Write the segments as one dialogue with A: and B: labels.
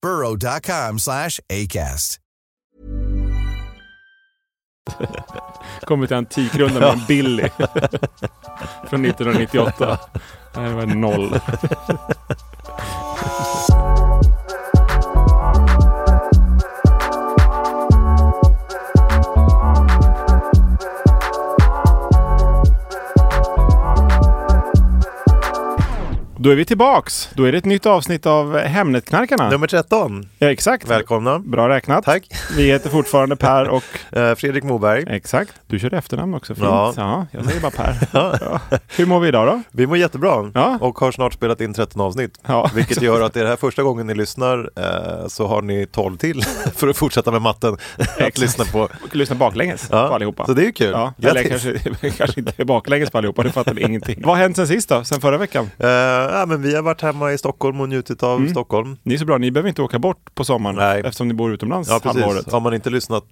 A: burrow.com slash ACAST.
B: Kommer till Antikrundan med en Billy. Från 1998. Nej, det var noll. Då är vi tillbaks. Då är det ett nytt avsnitt av Hemnetknarkarna.
C: Nummer 13.
B: Ja, exakt.
C: Välkomna.
B: Bra räknat.
C: Tack.
B: Vi heter fortfarande Per och...
C: Eh, Fredrik Moberg.
B: Exakt. Du kör efternamn också. Fint. Ja.
C: Ja.
B: jag säger bara Per. Ja. Hur mår vi idag då?
C: Vi mår jättebra
B: Ja.
C: och har snart spelat in 13 avsnitt.
B: Ja.
C: Vilket gör att är det här första gången ni lyssnar eh, så har ni 12 till för att fortsätta med matten att lyssna på.
B: Och lyssna baklänges
C: Ja,
B: på allihopa.
C: så det är ju kul.
B: Ja.
C: Grattis.
B: Eller kanske, kanske inte baklänges på allihopa, det fattar vi ingenting. Vad har hänt sen sist då? Sen förra veckan?
C: Eh, ja, men vi har varit hemma i Stockholm och njutit
B: Mm.
C: av Stockholm.
B: Ni är så bra, ni behöver inte åka bort på sommaren
C: Nej.
B: eftersom ni bor utomlands
C: Ja,
B: halva
C: precis.
B: året.
C: Har man inte lyssnat,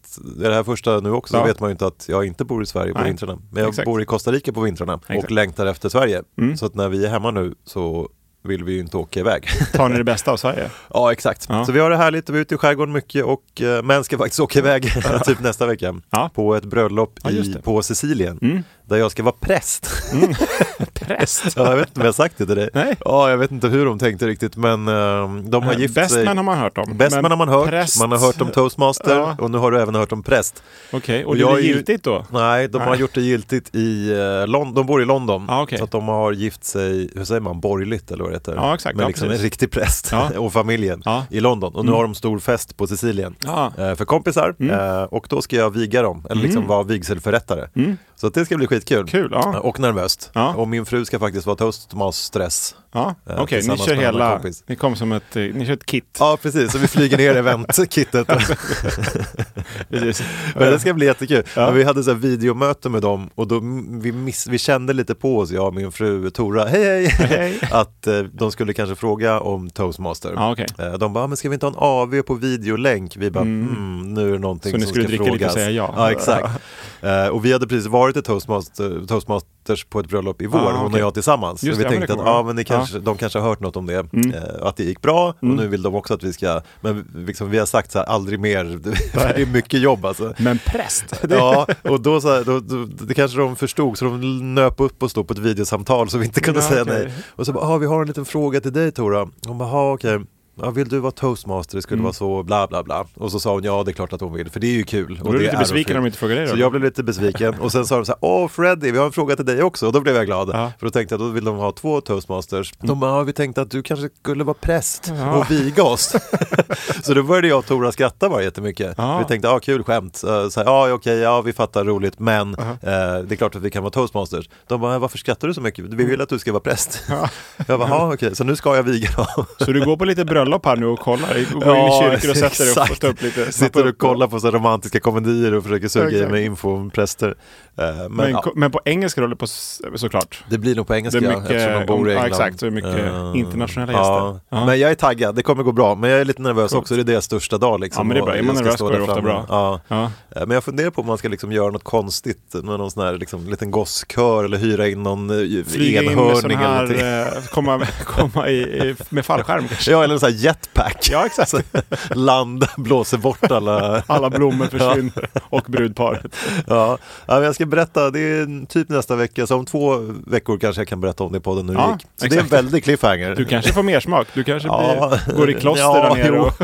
C: är det här första nu också,
B: Ja.
C: så vet man ju inte att jag inte bor i Sverige på
B: Nej.
C: vintrarna. Men jag
B: Exakt.
C: bor i Costa Rica på vintrarna
B: Exakt. Mm.
C: och längtar efter Sverige. Så att när vi är hemma nu så vill vi ju inte åka iväg.
B: Tar ni det bästa av Sverige?
C: Ja, exakt.
B: Ja.
C: Så vi har det härligt, vi är ute i skärgården mycket och eh, män ska faktiskt åka iväg typ nästa vecka
B: Ja.
C: på ett bröllop
B: Ja, just
C: i,
B: det. Mm.
C: på Sicilien där jag ska vara präst.
B: Präst?
C: ja, jag vet inte om jag har sagt det till dig.
B: Nej.
C: Ja, jag vet inte hur de tänkte riktigt men eh, de har gift sig.
B: Bestman har man hört om.
C: Bestman
B: men
C: har man hört,
B: präst-
C: man har hört om toastmaster
B: Ja.
C: och nu har du även hört om präst.
B: Okej, och
C: Och
B: det
C: jag
B: är
C: är ju-
B: giltigt då?
C: Nej, de har
B: Nej.
C: gjort det giltigt i eh, London, de bor i London.
B: Ah, okej.
C: Så att de har gift sig, hur säger man, borgerligt eller vad det heter.
B: Ja, exakt.
C: Men
B: Ja,
C: liksom en
B: precis.
C: riktig präst
B: Ja.
C: och familjen
B: Ja. Mm.
C: i London. Och nu har de stor fest på Sicilien.
B: Ja. Mm.
C: eh, för kompisar eh, och då ska jag viga dem, eller liksom vara vigselförrättare. Så att det ska bli skitkul.
B: Mm. Kul, ja.
C: Eh, Och nervöst.
B: Ja.
C: Och min fru ska faktiskt vara toastmasters.
B: Ja,
C: Eh,
B: okej, ni
C: tillsammans
B: kör
C: med en annan
B: hela,
C: kompis.
B: ni kom som ett, eh, ni kör ett kit.
C: Ja, precis. Så vi flyger ner eventkittet.
B: Precis.
C: Men det ska bli jättekul.
B: Ja.
C: Men vi hade så här videomöte med dem och då vi, miss, vi kände lite på oss, jag och min fru Tora, hej hej,
B: Hej.
C: att eh, de skulle kanske fråga om toastmaster.
B: Ja, okej.
C: Eh, De bara, "Ah, men ska vi inte ha en AV på videolänk? Vi bara, mm. nu är det någonting
B: Så ni
C: som
B: skulle
C: ska
B: dricka lite
C: frågas.
B: och säga ja?
C: Ja, exakt. Eh, och vi hade precis varit i toastmaster, Toastmasters på ett bröllop i vår,
B: Ah,
C: hon
B: okej.
C: och jag tillsammans.
B: Just
C: så
B: det,
C: vi
B: ja, men
C: tänkte
B: det
C: att
B: kommer
C: ja,
B: jag
C: men ni
B: ihåg.
C: kanske, de kanske har hört något om det, eh, att det gick bra och nu vill de också att vi ska, men liksom, vi har sagt så här, aldrig mer, för det är mycket jobb alltså.
B: Men präst?
C: Ja, och då, så här, då, då det kanske de förstod så de nöp upp och stod på ett videosamtal så vi inte kunde
B: Ja,
C: säga
B: okej.
C: nej. Och så bara, ah, vi har en liten fråga till dig Tora. Hon bara, ah, okej. Ja, vill du vara toastmaster? Det skulle vara så bla bla bla. Och så sa hon ja, det är klart att hon vill, för det är ju kul.
B: Mm. Då
C: Och
B: blir du
C: det
B: lite
C: är
B: besviken om
C: roligt.
B: de inte frågar dig då?
C: Så jag blev lite besviken och sen sa de så här, åh Freddy, vi har en fråga till dig också. Och då blev jag glad.
B: Ja. Mm.
C: För då tänkte jag, då vill de ha två toastmasters. De bara, ah, vi tänkte att du kanske skulle vara präst
B: Ja.
C: och viga oss. så då började jag och Tora skratta bara jättemycket.
B: Ja.
C: Vi tänkte, ja ah, kul skämt. Eh, Så här, ja okej, ja vi fattar roligt, men eh, det är klart att vi kan vara toastmasters. De bara, "Eh, varför skrattar du så mycket? Vi
B: Mm.
C: vill att du ska vara präst. Jag bara, ja okej, så nu ska jag viga dem.
B: Så du går på lite bröllop här nu och kollar? Du Går in i kyrkor och sätter dig och
C: exakt.
B: får ta upp lite?
C: Sitter och kollar på så här romantiska komedier och försöker suga i
B: Exakt.
C: mig info om präster. Eh, Men,
B: Men,
C: ja.
B: ko- men på engelska då, eller på s- såklart?
C: Det blir nog på engelska
B: Det är
C: ja,
B: mycket-
C: eftersom de bor i
B: ja,
C: England.
B: exakt, så är det mycket
C: Eh,
B: internationella
C: Ja.
B: gäster. Ja.
C: Men jag är taggad, det kommer gå bra. Men jag är lite nervös
B: Coolt.
C: också, det är deras största dag. Liksom,
B: Ja, men det är
C: och
B: bra. Är man
C: jag ska
B: nervös
C: stå
B: går
C: där
B: det ofta
C: framme.
B: bra.
C: Ja.
B: Ja.
C: Eh, Men jag funderar på om man ska liksom göra något konstigt med någon sån här liksom, liten gosskör eller hyra in någon eh,
B: Flyga in med sån eh,
C: enhörning eller någonting.
B: här, eh, komma, komma i, i, med fallskärm kanske?
C: Ja, eller en sån här jetpack.
B: Ja, exakt.
C: Så, land blåser bort alla...
B: Alla blommor försvinner och brudparet.
C: Ja. ja, men jag ska berätta, det är typ nästa vecka, så om två veckor kanske jag kan berätta om det i podden hur
B: Ja,
C: det gick. Så det är en
B: exakt.
C: väldig cliffhanger.
B: Du kanske får mer smak. Du kanske
C: Ja.
B: blir, går i kloster
C: Ja,
B: där nere.
C: jo.
B: Och,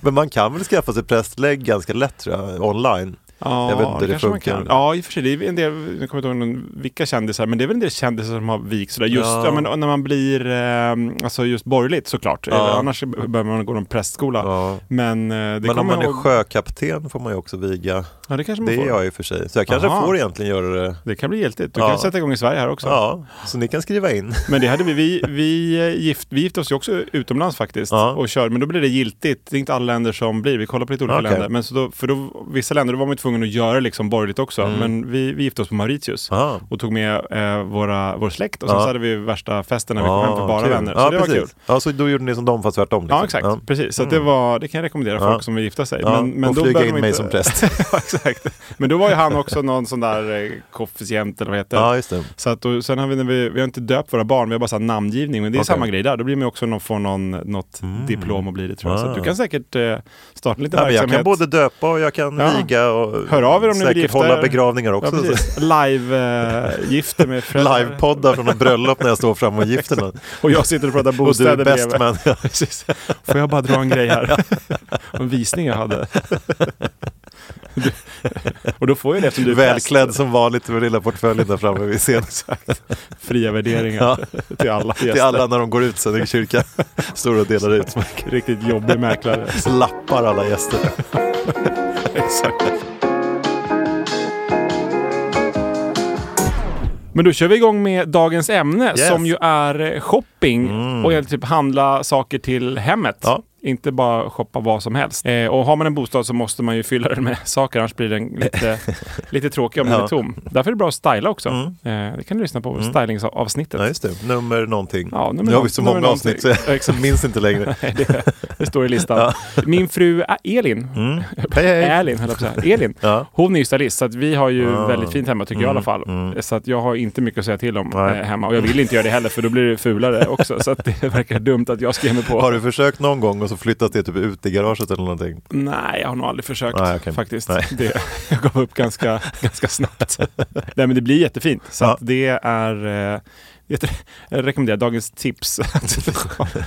C: Men man kan väl skaffa sig prästlägg ganska lätt tror jag, online.
B: ja,
C: Jag vet inte hur det
B: kanske man
C: funkar.
B: kan. Ja, i och för sig. Det är en del, jag kommer inte ihåg någon- vilka kändisar, men det är väl en del kändisar som har vikt sådär. Just
C: Ja.
B: ja. men, när man blir eh, alltså just borgerligt såklart. Eh,
C: Ja.
B: Annars behöver man gå någon prästskola.
C: Ja.
B: Men eh, det
C: Men om
B: kommer jag
C: man är
B: ihåg-
C: sjökapten får man ju också viga.
B: Ja, det kanske man
C: Det är
B: får.
C: jag i och för sig. Så jag kanske
B: Aha.
C: får egentligen göra det.
B: Det kan bli giltigt. Du
C: Ja.
B: kan sätta igång i Sverige här också.
C: Ja, så ni kan skriva in.
B: Men det hade vi, vi, vi, eh, gift, vi gifte oss ju också utomlands faktiskt.
C: Ja.
B: Och kör, men då blir det giltigt. Det är inte alla länder som blir. Vi kollar på lite olika
C: Okej.
B: länder. Men så då, för då, vissa länder då var man ju tvungen att göra liksom borgerligt också.
C: Mm.
B: Men vi, vi gifte oss på Mauritius.
C: Aha.
B: Och tog med eh, våra, vår släkt och sen
C: Ja.
B: så hade vi värsta festen när vi kom hem för bara
C: kul.
B: vänner. Så
C: ja,
B: det
C: precis.
B: var kul.
C: Ja, så då gjorde ni som de fast tvärtom. liksom.
B: Ja, exakt. Precis. Så att det, var, det kan jag rekommendera
C: Ja.
B: folk som vill gifta sig.
C: Ja,
B: Men, men
C: och
B: då
C: flyga
B: behöver
C: in
B: man
C: mig
B: inte-
C: som präst.
B: ja, exakt. Men då var ju han också någon sån där eh, koefficient eller vad heter
C: Ja, just det.
B: Så att, och sen har vi, när vi, vi har inte döpt våra barn, vi har bara så här namngivning. Men det är
C: Okej. Mm.
B: samma grej där. Då blir man ju också någon, får någon, något diplom och blir det tror jag. Så
C: Ah.
B: att du kan säkert eh, starta en liten
C: Ja, men jag
B: verksamhet.
C: kan både döpa och jag kan
B: Ja.
C: viga och
B: Hör av er om ni vill
C: säkert
B: gifta
C: hålla
B: er.
C: begravningar
B: Ja,
C: också.
B: precis. Live-gifte med föräldrar.
C: Livepoddar från ett bröllop när jag står fram och gifter mig.
B: Och jag sitter och pratar
C: Och du
B: bostäder
C: är bäst
B: bredvid.
C: man. Ja,
B: Precis. Får jag bara dra en grej här? En visning jag hade. Du- Och då får jag det eftersom du är
C: Välklädd som vanligt med lilla portföljen där framme vid scenen.
B: präst. Fria värderingar
C: Ja.
B: till alla gäster.
C: Till alla när de går ut sen i kyrkan. Står och delar ut.
B: Riktigt jobbig mäklare.
C: Lappar alla gäster.
B: Exakt. Men då kör vi igång med dagens ämne
C: Yes. Mm.
B: som ju är eh, shopping och egentligen typ handla saker till hemmet.
C: Ja.
B: Inte bara shoppa vad som helst. Eh, och har man en bostad så måste man ju fylla den med saker annars blir den lite, lite tråkig om den
C: Ja. Mm.
B: är tom. Därför är det bra att styla också. Eh, det kan du lyssna på, stylingsavsnittet.
C: Ja, just det. Nummer någonting.
B: Ja, nummer
C: nu har vi
B: någon-
C: så
B: nummer
C: många avsnitt så
B: någonting.
C: jag liksom minns inte längre.
B: Nej, det, det står i listan. Min fru Ä- Elin,
C: Mm. Hej, hej.
B: Elin höll jag på att säga. Elin,
C: Ja. Ah. Mm,
B: hon är ju stylist så att vi har ju väldigt fint hemma tycker jag i alla fall. Så att jag har inte mycket att säga till om
C: Nej.
B: eh, hemma och jag vill inte göra det heller för då blir det fulare också. Så att det verkar dumt att jag ska ge mig på.
C: Har du försökt någon gång och så flyttat det typ ut i garaget eller någonting?
B: Nej, jag har nog aldrig försökt
C: Nej, okej.
B: faktiskt.
C: Nej.
B: Det, jag gav upp ganska, ganska snabbt. Nej, men det blir jättefint. Så
C: Ja.
B: att det är... eh, jätte- Jag rekommenderar dagens tips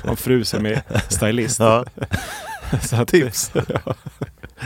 B: om fru som är stylist.
C: Ja,
B: Så att-
C: tips.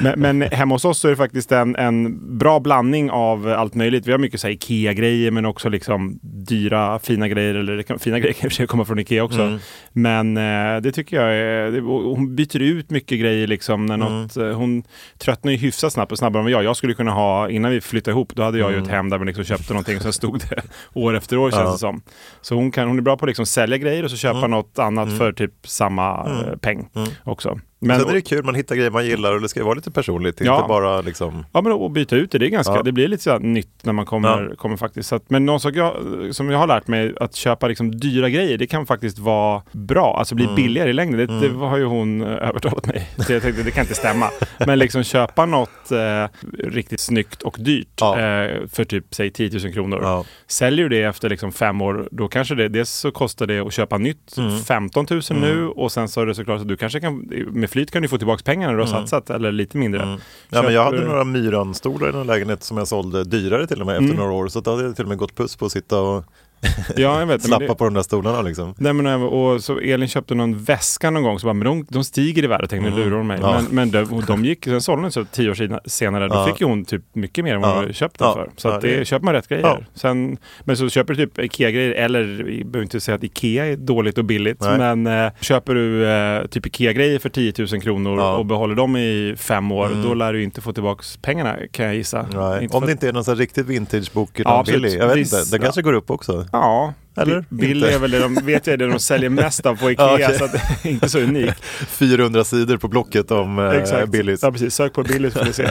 B: Men, men hemma hos oss så är det faktiskt en, en bra blandning av allt möjligt. Vi har mycket så här Ikea-grejer men också liksom dyra fina grejer. Eller det kan, fina grejer kan i och för sig komma från Ikea också.
C: Mm.
B: Men eh, det tycker jag är... Det, och hon byter ut mycket grejer liksom. När
C: Mm.
B: något, eh, hon tröttnar ju hyfsat snabbt och snabbare än vad jag. Jag skulle kunna ha, innan vi flyttade ihop, då hade jag ju ett hem där man liksom köpte någonting och sen stod det år efter år känns
C: Mm. Ja. Mm.
B: det som. Så hon, kan, hon är bra på att liksom sälja grejer och så köpa något annat för typ samma eh, peng också. Men,
C: Sen är det kul, man hittar grejer man gillar och det ska ju vara lite personligt.
B: Ja.
C: Inte bara liksom...
B: Ja, men att byta ut det, det, är ganska,
C: Ja.
B: det blir lite så här nytt när man kommer, kommer faktiskt. Så att, men någon sak jag, som jag har lärt mig, att köpa liksom dyra grejer, det kan faktiskt vara bra, alltså
C: Mm.
B: bli billigare i längden. Det, det har ju hon eh, övertalat mig Så Jag tänkte, det kan inte stämma. Men liksom köpa något eh, riktigt snyggt och dyrt
C: Ja.
B: eh, för typ, säg 10 000 kronor.
C: Ja.
B: Säljer du det efter liksom fem år, då kanske det, dels så kostar det att köpa nytt
C: Mm.
B: 15 000 nu och sen så är det såklart att du kanske kan, med flyt kan du få tillbaka pengarna du har satsat, eller lite mindre.
C: Mm. Ja, men
B: Köper
C: jag hade
B: du-
C: några myranstolar i någon lägenhet som jag sålde dyrare till och med efter
B: Mm.
C: några år. Så då hade jag till och med gått puss på att sitta och
B: Ja, jag vet. men
C: slappa
B: det-
C: på de där stolarna liksom.
B: Nej, men, även- och så Elin köpte någon väska någon gång, så bara, men de, de stiger i värde, tänkte jag, nu lurar de mig.
C: Mm. Ja.
B: Men, men de, och de gick, sen sålde hon så tio år sina- senare, då
C: Ja.
B: fick ju hon typ mycket mer än vad
C: Ja.
B: hon köpte den
C: Ja.
B: för. Så
C: Ja,
B: att det,
C: det-
B: köper man rätt grejer.
C: Ja.
B: Sen, men så köper du typ Ikea-grejer, eller vi behöver inte säga att Ikea är dåligt och billigt,
C: Nej.
B: men eh, köper du eh, typ Ikea-grejer för 10 000 kronor
C: Ja. Mm.
B: och behåller dem i fem år, då lär du inte få tillbaka pengarna kan jag gissa.
C: Nej.
B: Inte
C: Om
B: för
C: det
B: att-
C: inte är någon sån här riktigt vintagebok
B: Ja,
C: utan
B: absolut.
C: billig. Jag vet
B: Vis-
C: inte, den kanske går upp också.
B: Ja,
C: Eller?
B: Eller? Bill
C: Inte.
B: är väl det de, vet jag, är det de säljer mest av på Ikea,
C: Ja, okej.
B: så att, det är inte så unik.
C: 400 sidor på Blocket om eh,
B: Exakt.
C: Billys.
B: Ja, precis. Sök på Billys får ni se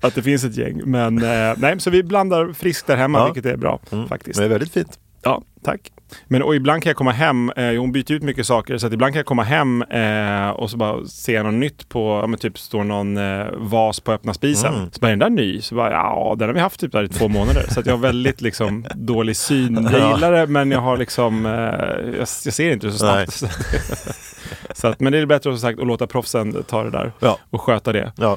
B: att det finns ett gäng. Men eh, nej, så vi blandar friskt där hemma,
C: Ja. Mm.
B: vilket är bra faktiskt.
C: Men det är väldigt fint.
B: Ja, tack. Men och ibland kan jag komma hem, eh, hon byter ut mycket saker, så att ibland kan jag komma hem eh, och så bara se något nytt på, ja, men typ står någon eh, vas på öppna spisen.
C: Mm.
B: Så bara, är den där ny? Så bara, ja, den har vi haft typ där i två månader. Så att jag har väldigt liksom dålig syn. Jag gillar det, men jag har liksom, eh, jag, jag ser inte så snabbt. Så, Så att, men det är bättre som sagt att låta proffsen ta det där
C: Ja.
B: och sköta det.
C: Ja.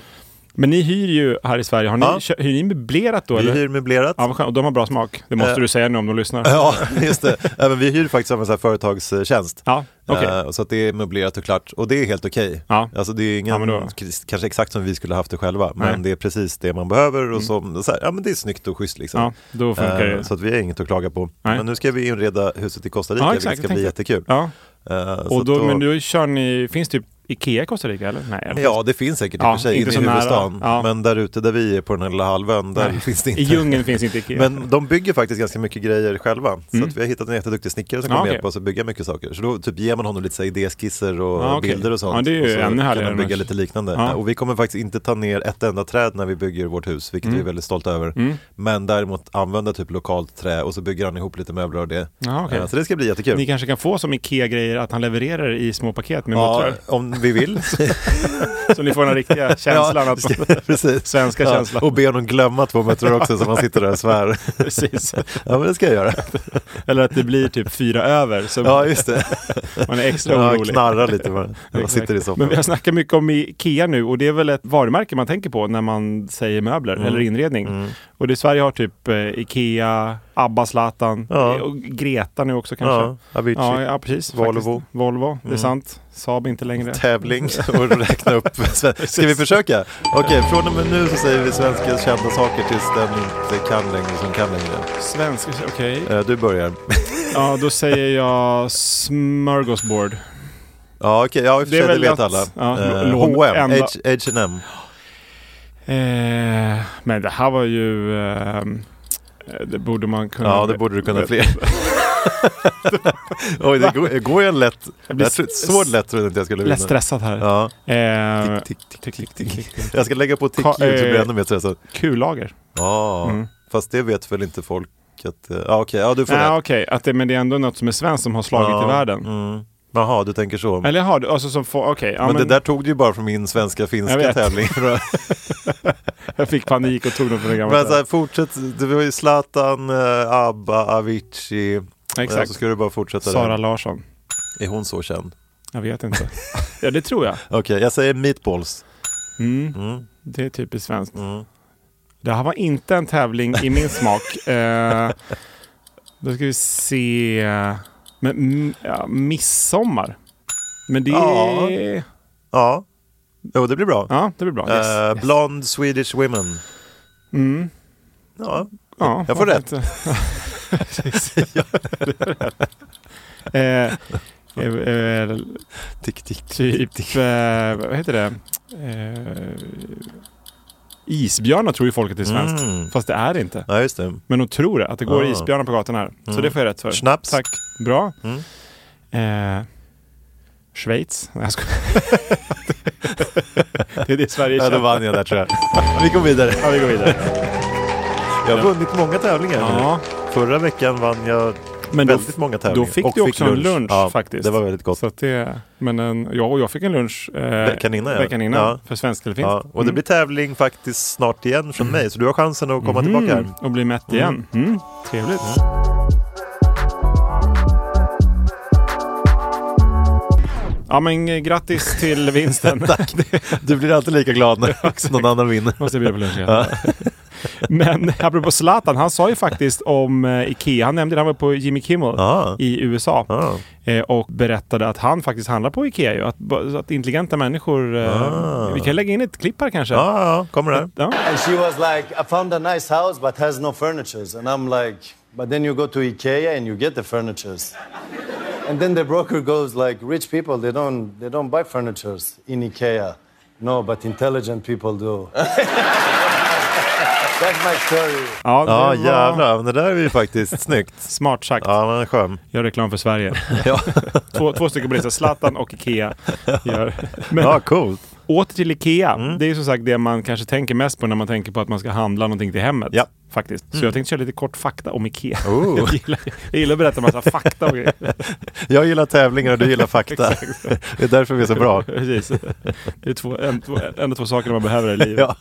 B: Men ni hyr ju här i Sverige, har ni,
C: Ja.
B: kö- hyr ni möblerat då?
C: Vi
B: eller?
C: hyr möblerat.
B: Ja, vad skönt. Och de har bra smak. Det måste
C: Eh.
B: du säga nu om de lyssnar.
C: Ja, just det. Även vi hyr faktiskt av en sån här företagstjänst.
B: Ja, okej.
C: Eh, Så att det är möblerat och klart och det är helt okej.
B: Ja.
C: Alltså det är ingen,
B: Ja, men då-
C: k- kanske exakt som vi skulle haft det själva,
B: Nej. Mm.
C: men det är precis det man behöver och som, så här, ja men det är snyggt och schysst liksom.
B: Ja, då funkar
C: Eh,
B: det.
C: Så att vi har inget att klaga på.
B: Nej.
C: Men nu ska vi inreda huset i Costa Rica,
B: Ja,
C: vilket
B: exakt,
C: ska
B: jag
C: bli
B: tänkte-
C: jättekul.
B: Ja.
C: Eh, så
B: Och
C: att
B: då, men då kör ni, finns typ Ikea i Costa Rica eller? Nej, eller?
C: Ja, det finns säkert i och
B: Ja,
C: för sig
B: inte
C: inne i
B: så nära.
C: huvudstaden.
B: Ja.
C: Men där ute där vi är på den här lilla halvön, där
B: Nej.
C: finns det inte.
B: I djungeln finns inte Ikea.
C: Men de bygger faktiskt ganska mycket grejer själva. Så
B: Mm.
C: att vi har hittat en jätteduktig snickare som
B: Ja,
C: kommer
B: okej.
C: hjälpa oss att bygga mycket saker. Så då typ ger man honom lite så här idéskisser och
B: Ja, okej.
C: bilder och sånt.
B: Ja, det är ju
C: och så
B: ännu
C: kan
B: härligare
C: de bygga
B: annars.
C: lite liknande.
B: Ja.
C: Och vi kommer faktiskt inte ta ner ett enda träd när vi bygger vårt hus, vilket
B: Mm.
C: vi är väldigt stolta över. Men däremot använda typ lokalt trä och så bygger han ihop lite möbler och det.
B: Ja, okej.
C: Eh, Så det ska bli jättekul.
B: Ni kanske kan få som Ikea-grejer att han levererar i små paket med
C: Ja,
B: muttrar.
C: om vi vill.
B: Så ni får den riktiga känslan. att,
C: precis.
B: svenska
C: Ja,
B: känslan.
C: Och be honom glömma två meter också så man sitter där och svär.
B: precis.
C: Ja men det ska jag göra.
B: Eller att det blir typ fyra över. Så
C: Ja just det.
B: man är extra
C: Ja,
B: orolig.
C: knarra lite bara. Man
B: Exakt.
C: sitter i
B: Men
C: soffan.
B: vi har snackat mycket om Ikea nu och det är väl ett varumärke man tänker på när man säger möbler
C: Mm.
B: eller inredning. Och det Sverige har typ eh, Ikea, Abba, Zlatan
C: Ja.
B: eh, och Greta nu också
C: Ja,
B: kanske.
C: Avicii.
B: Ja, ja precis.
C: Volvo. Mm.
B: faktiskt. Volvo, det är sant. Saab inte längre.
C: Tävling och räkna upp. Ska vi försöka? Okej, från och med nu så säger vi svenska kända saker tills den inte kan längre som kan längre.
B: Svensk, okej.
C: Eh, Du börjar.
B: Ja, då säger jag smörgåsbord. Eh,
C: Ja okej, ja i och för
B: Det är
C: sig
B: väl
C: det vet
B: att-
C: alla.
B: ja,
C: Eh,
B: lån-
C: H&M,
B: enda-
C: H- H&M.
B: Eh, men det här var ju... ehm, Eh, det borde man kunna...
C: Ja det borde du kunna fler. H&M. Oj, det går, det går ju en lätt...
B: blir
C: Jag tror, så lätt trodde jag inte jag skulle vinna.
B: Lätt stressad här.
C: Ja.
B: Eh,
C: Tick, tick, tick,
B: tick,
C: tick,
B: tick,
C: tick.
B: tick, tick.
C: Jag ska lägga på tick ljud
B: Ka-
C: så blir jag
B: eh,
C: ännu mer stressad.
B: Kullager.
C: Ja,
B: Mm.
C: fast det vet väl inte folk att... eh, Ja, okej. Ja, du får
B: Nej,
C: rätt.
B: okej. Att det, men det är ändå något som är svenskt som har slagit
C: Ja,
B: i världen.
C: Mm. Jaha, du tänker så.
B: Eller har du? Alltså som får... Okej. ja,
C: men,
B: men
C: det där tog du ju bara från min
B: Jag
C: svenska-finska
B: vet.
C: tävling.
B: Jag fick panik och tog den från det gamla.
C: men så här, fortsätt. Det var ju Zlatan, eh, Abba, Avicii. Eh,
B: Exakt.
C: Så ska du bara fortsätta
B: Sara
C: där.
B: Larsson.
C: Är hon så känd?
B: Jag vet inte. ja, det tror jag.
C: Okej, jag säger meatballs.
B: Mm.
C: Mm.
B: Det är typiskt svenskt.
C: Mm.
B: Det här var inte en tävling i min smak. Eh, då ska vi se. Men, mm, ja, midsommar. Men det...
C: Ja.
B: Ja,
C: Ja, jo det blir bra.
B: det blir bra. Yes.
C: Eh, Blonde Swedish Women.
B: Mm.
C: Ja,
B: Ja,
C: Jag får
B: varför
C: rätt.
B: inte? Precis. eh, eh, eh,
C: tick, tick.
B: typ, eh, vad heter det? Eh, isbjörnar tror ju folk att det är svenskt.
C: Mm.
B: Fast det är det inte.
C: Ja, just det.
B: Men de tror det, att det går
C: Ah.
B: isbjörnar på gatan här. Så
C: Mm.
B: det får jag rätt för.
C: Snaps.
B: Tack. Bra.
C: Mm.
B: Eh, Schweiz? Nej, jag skojar. det är det Sverige
C: Ja, då
B: känner.
C: vann jag där tror jag. Vi går vidare.
B: Ja, vi går vidare.
C: Jag har vunnit många tävlingar.
B: Ja,
C: Förra veckan vann jag
B: men då,
C: väldigt många
B: då
C: tävlingar.
B: fick du också en lunch
C: ja,
B: faktiskt.
C: Det var väldigt gott.
B: så att det, men en, ja, och jag fick en lunch eh,
C: Veckan innan, ja.
B: veckan innan
C: Ja.
B: för svensk eller finsk.
C: Ja, och det blir
B: Mm.
C: tävling faktiskt snart igen från mig, så du har chansen att komma tillbaka här.
B: Mm, och bli mätt igen. Mm. Trevligt. Ja men eh, grattis till vinsten.
C: Tack! Du blir alltid lika glad när någon annan vinner.
B: Måste jag bjuda på lunch igen. Men eh, apropå Zlatan, han sa ju faktiskt om eh, Ikea, han nämnde det, han var på Jimmy Kimmel
C: Ja.
B: i USA
C: Ja.
B: eh, och berättade att han faktiskt handlar på Ikea ju. Att, ba- att intelligenta människor... Eh,
C: Ah.
B: Vi kan lägga in ett klipp här kanske.
C: Ja, ja, ja, kommer här.
B: Ja.
D: And she was like, I found a nice house but has no furnitures. And I'm like, but then you go to IKEA and you get the furnitures. And then the broker goes like, rich people they don't they don't buy furnitures in IKEA. No, but intelligent people do. That's my story.
B: Ja, det
C: Ja,
B: var
C: jävlar. Men Det där är ju faktiskt snyggt.
B: Smart sagt.
C: Ja, men skön.
B: Gör reklam för Sverige.
C: Ja,
B: Två, två stycken poliser, Zlatan och Ikea. Gör. Men
C: ja Mm. coolt.
B: åter till Ikea. Det är ju som sagt det man kanske tänker mest på när man tänker på att man ska handla någonting till hemmet.
C: Ja. Mm.
B: Faktiskt. Så jag tänkte köra lite kort fakta om Ikea.
C: Oh.
B: Jag, gillar, jag gillar att berätta massa fakta och grejer.
C: Jag gillar tävlingar och du gillar fakta. Det är därför vi är så bra.
B: Precis. Det är två, en, två, ändå två saker man behöver i livet.
C: Ja.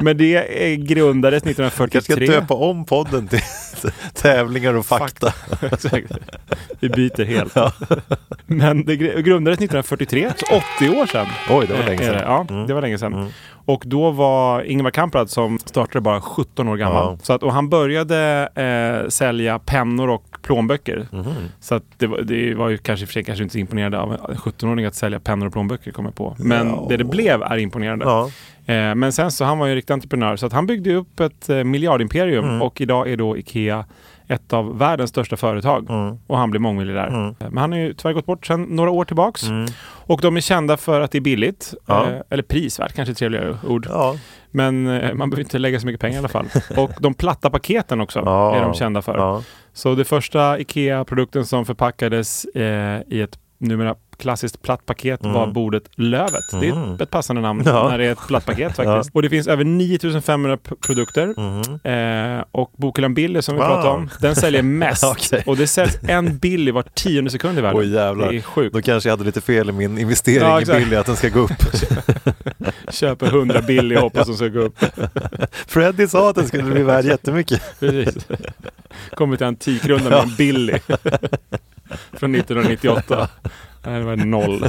B: Men det eh, grundades
C: Jag ska
B: 1943.
C: döpa om podden till Tävlingar och fakta.
B: Exakt. Vi byter helt. Men det gre- grundades 1943, så 80 år sedan.
C: Oj, det var länge
B: Eh, är
C: sedan. Mm.
B: det. Ja, det var länge sedan. Och då var Ingvar Kamprad som startade bara 17 år gammal.
C: Ja.
B: Så att, och han började eh, sälja pennor och plånböcker.
C: Mhm.
B: Så att det, var, det var ju kanske i och för sig kanske inte så imponerande av en 17-åring att sälja pennor och plånböcker, kommer jag på. Men det det blev är imponerande.
C: Ja.
B: Eh, men sen så han var ju en riktig entreprenör så att han byggde upp ett eh, miljardimperium
C: Mm.
B: och idag är då Ikea ett av världens största företag
C: Mm.
B: och han blev mångmiljardär. Eh, Men han har ju tyvärr gått bort sedan några år tillbaks och de är kända för att det är billigt,
C: Mm. Ja.
B: eh, eller prisvärt kanske är ett trevligare ord.
C: Ja.
B: Men eh, man behöver inte lägga så mycket pengar i alla fall. Och de platta paketen också
C: Ja.
B: är de kända för.
C: Ja.
B: Så det första IKEA-produkten som förpackades eh, i ett numera klassiskt platt paket var bordet Lövet. Det är ett, ett passande namn
C: Mm. Ja.
B: när det är ett platt paket faktiskt. Och det finns över 9500 p- produkter. Eh, och bokhyllan Billy som vi
C: Mm. Wow.
B: pratade om, den säljer mest.
C: Okej.
B: Och det säljs en Billy var tionde sekund i världen.
C: Oj jävlar.
B: Det är sjukt.
C: Då kanske jag hade lite fel i min investering
B: Ja,
C: i
B: exakt.
C: Billy, att den ska gå upp.
B: Köper 100 Billy och hoppas de ska gå upp.
C: Freddy sa att den skulle bli värd jättemycket.
B: Precis. Kommer till Antikrundan med en Billy. Från 1998. Nej, det var noll.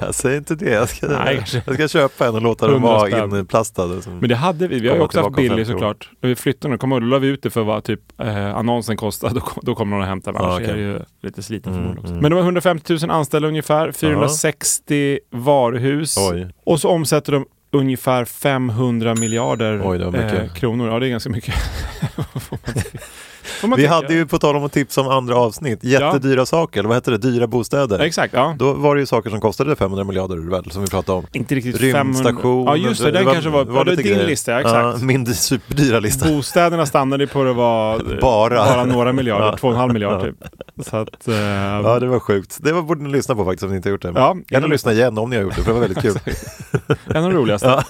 C: Jag säger inte det. Jag ska,
B: Nej, kanske.
C: jag ska köpa en och låta den
B: 100
C: vara
B: spänn.
C: inplastad. Som,
B: Men det hade vi. Vi har ju
C: Mm. Komma
B: också haft
C: tillbaka om
B: Billy
C: fem år.
B: såklart. När vi flyttade den, kommer jag ihåg, då la vi ut det för vad typ eh, annonsen kostade. Då, kom- då kommer någon och hämtade den.
C: Ja,
B: Annars
C: okej.
B: är det ju lite sliten
C: Mm,
B: förmodligen också.
C: mm.
B: Men det var 150 000 anställda ungefär. 460 varuhus.
C: Oj.
B: Och så omsätter de ungefär 500 miljarder eh,
C: Oj, det var mycket.
B: kronor. Ja, det är ganska mycket. Får man- får man
C: Vi
B: tycka.
C: hade ju, på tal om att tipsa om andra avsnitt, jättedyra saker, eller vad hette det, dyra bostäder.
B: Ja, Exakt, ja.
C: Då var det ju saker som kostade 500 miljarder väl, som vi pratade om.
B: Inte riktigt 500.
C: Rymdstation.
B: Ja just det, den kanske var, var det
C: lite
B: din
C: grejer.
B: lista, ja, exakt.
C: Ja, min dy- superdyra lista.
B: Bostäderna stannade ju på det var eh,
C: Bara.
B: bara några miljarder,
C: Ja.
B: två och en halv miljard typ. Så att, eh,
C: Ja, det var sjukt. Det var, borde ni lyssna på faktiskt om ni inte har gjort det.
B: Ja.
C: Gärna lyssna igen om ni har gjort det, för det var väldigt kul.
B: en av de roligaste.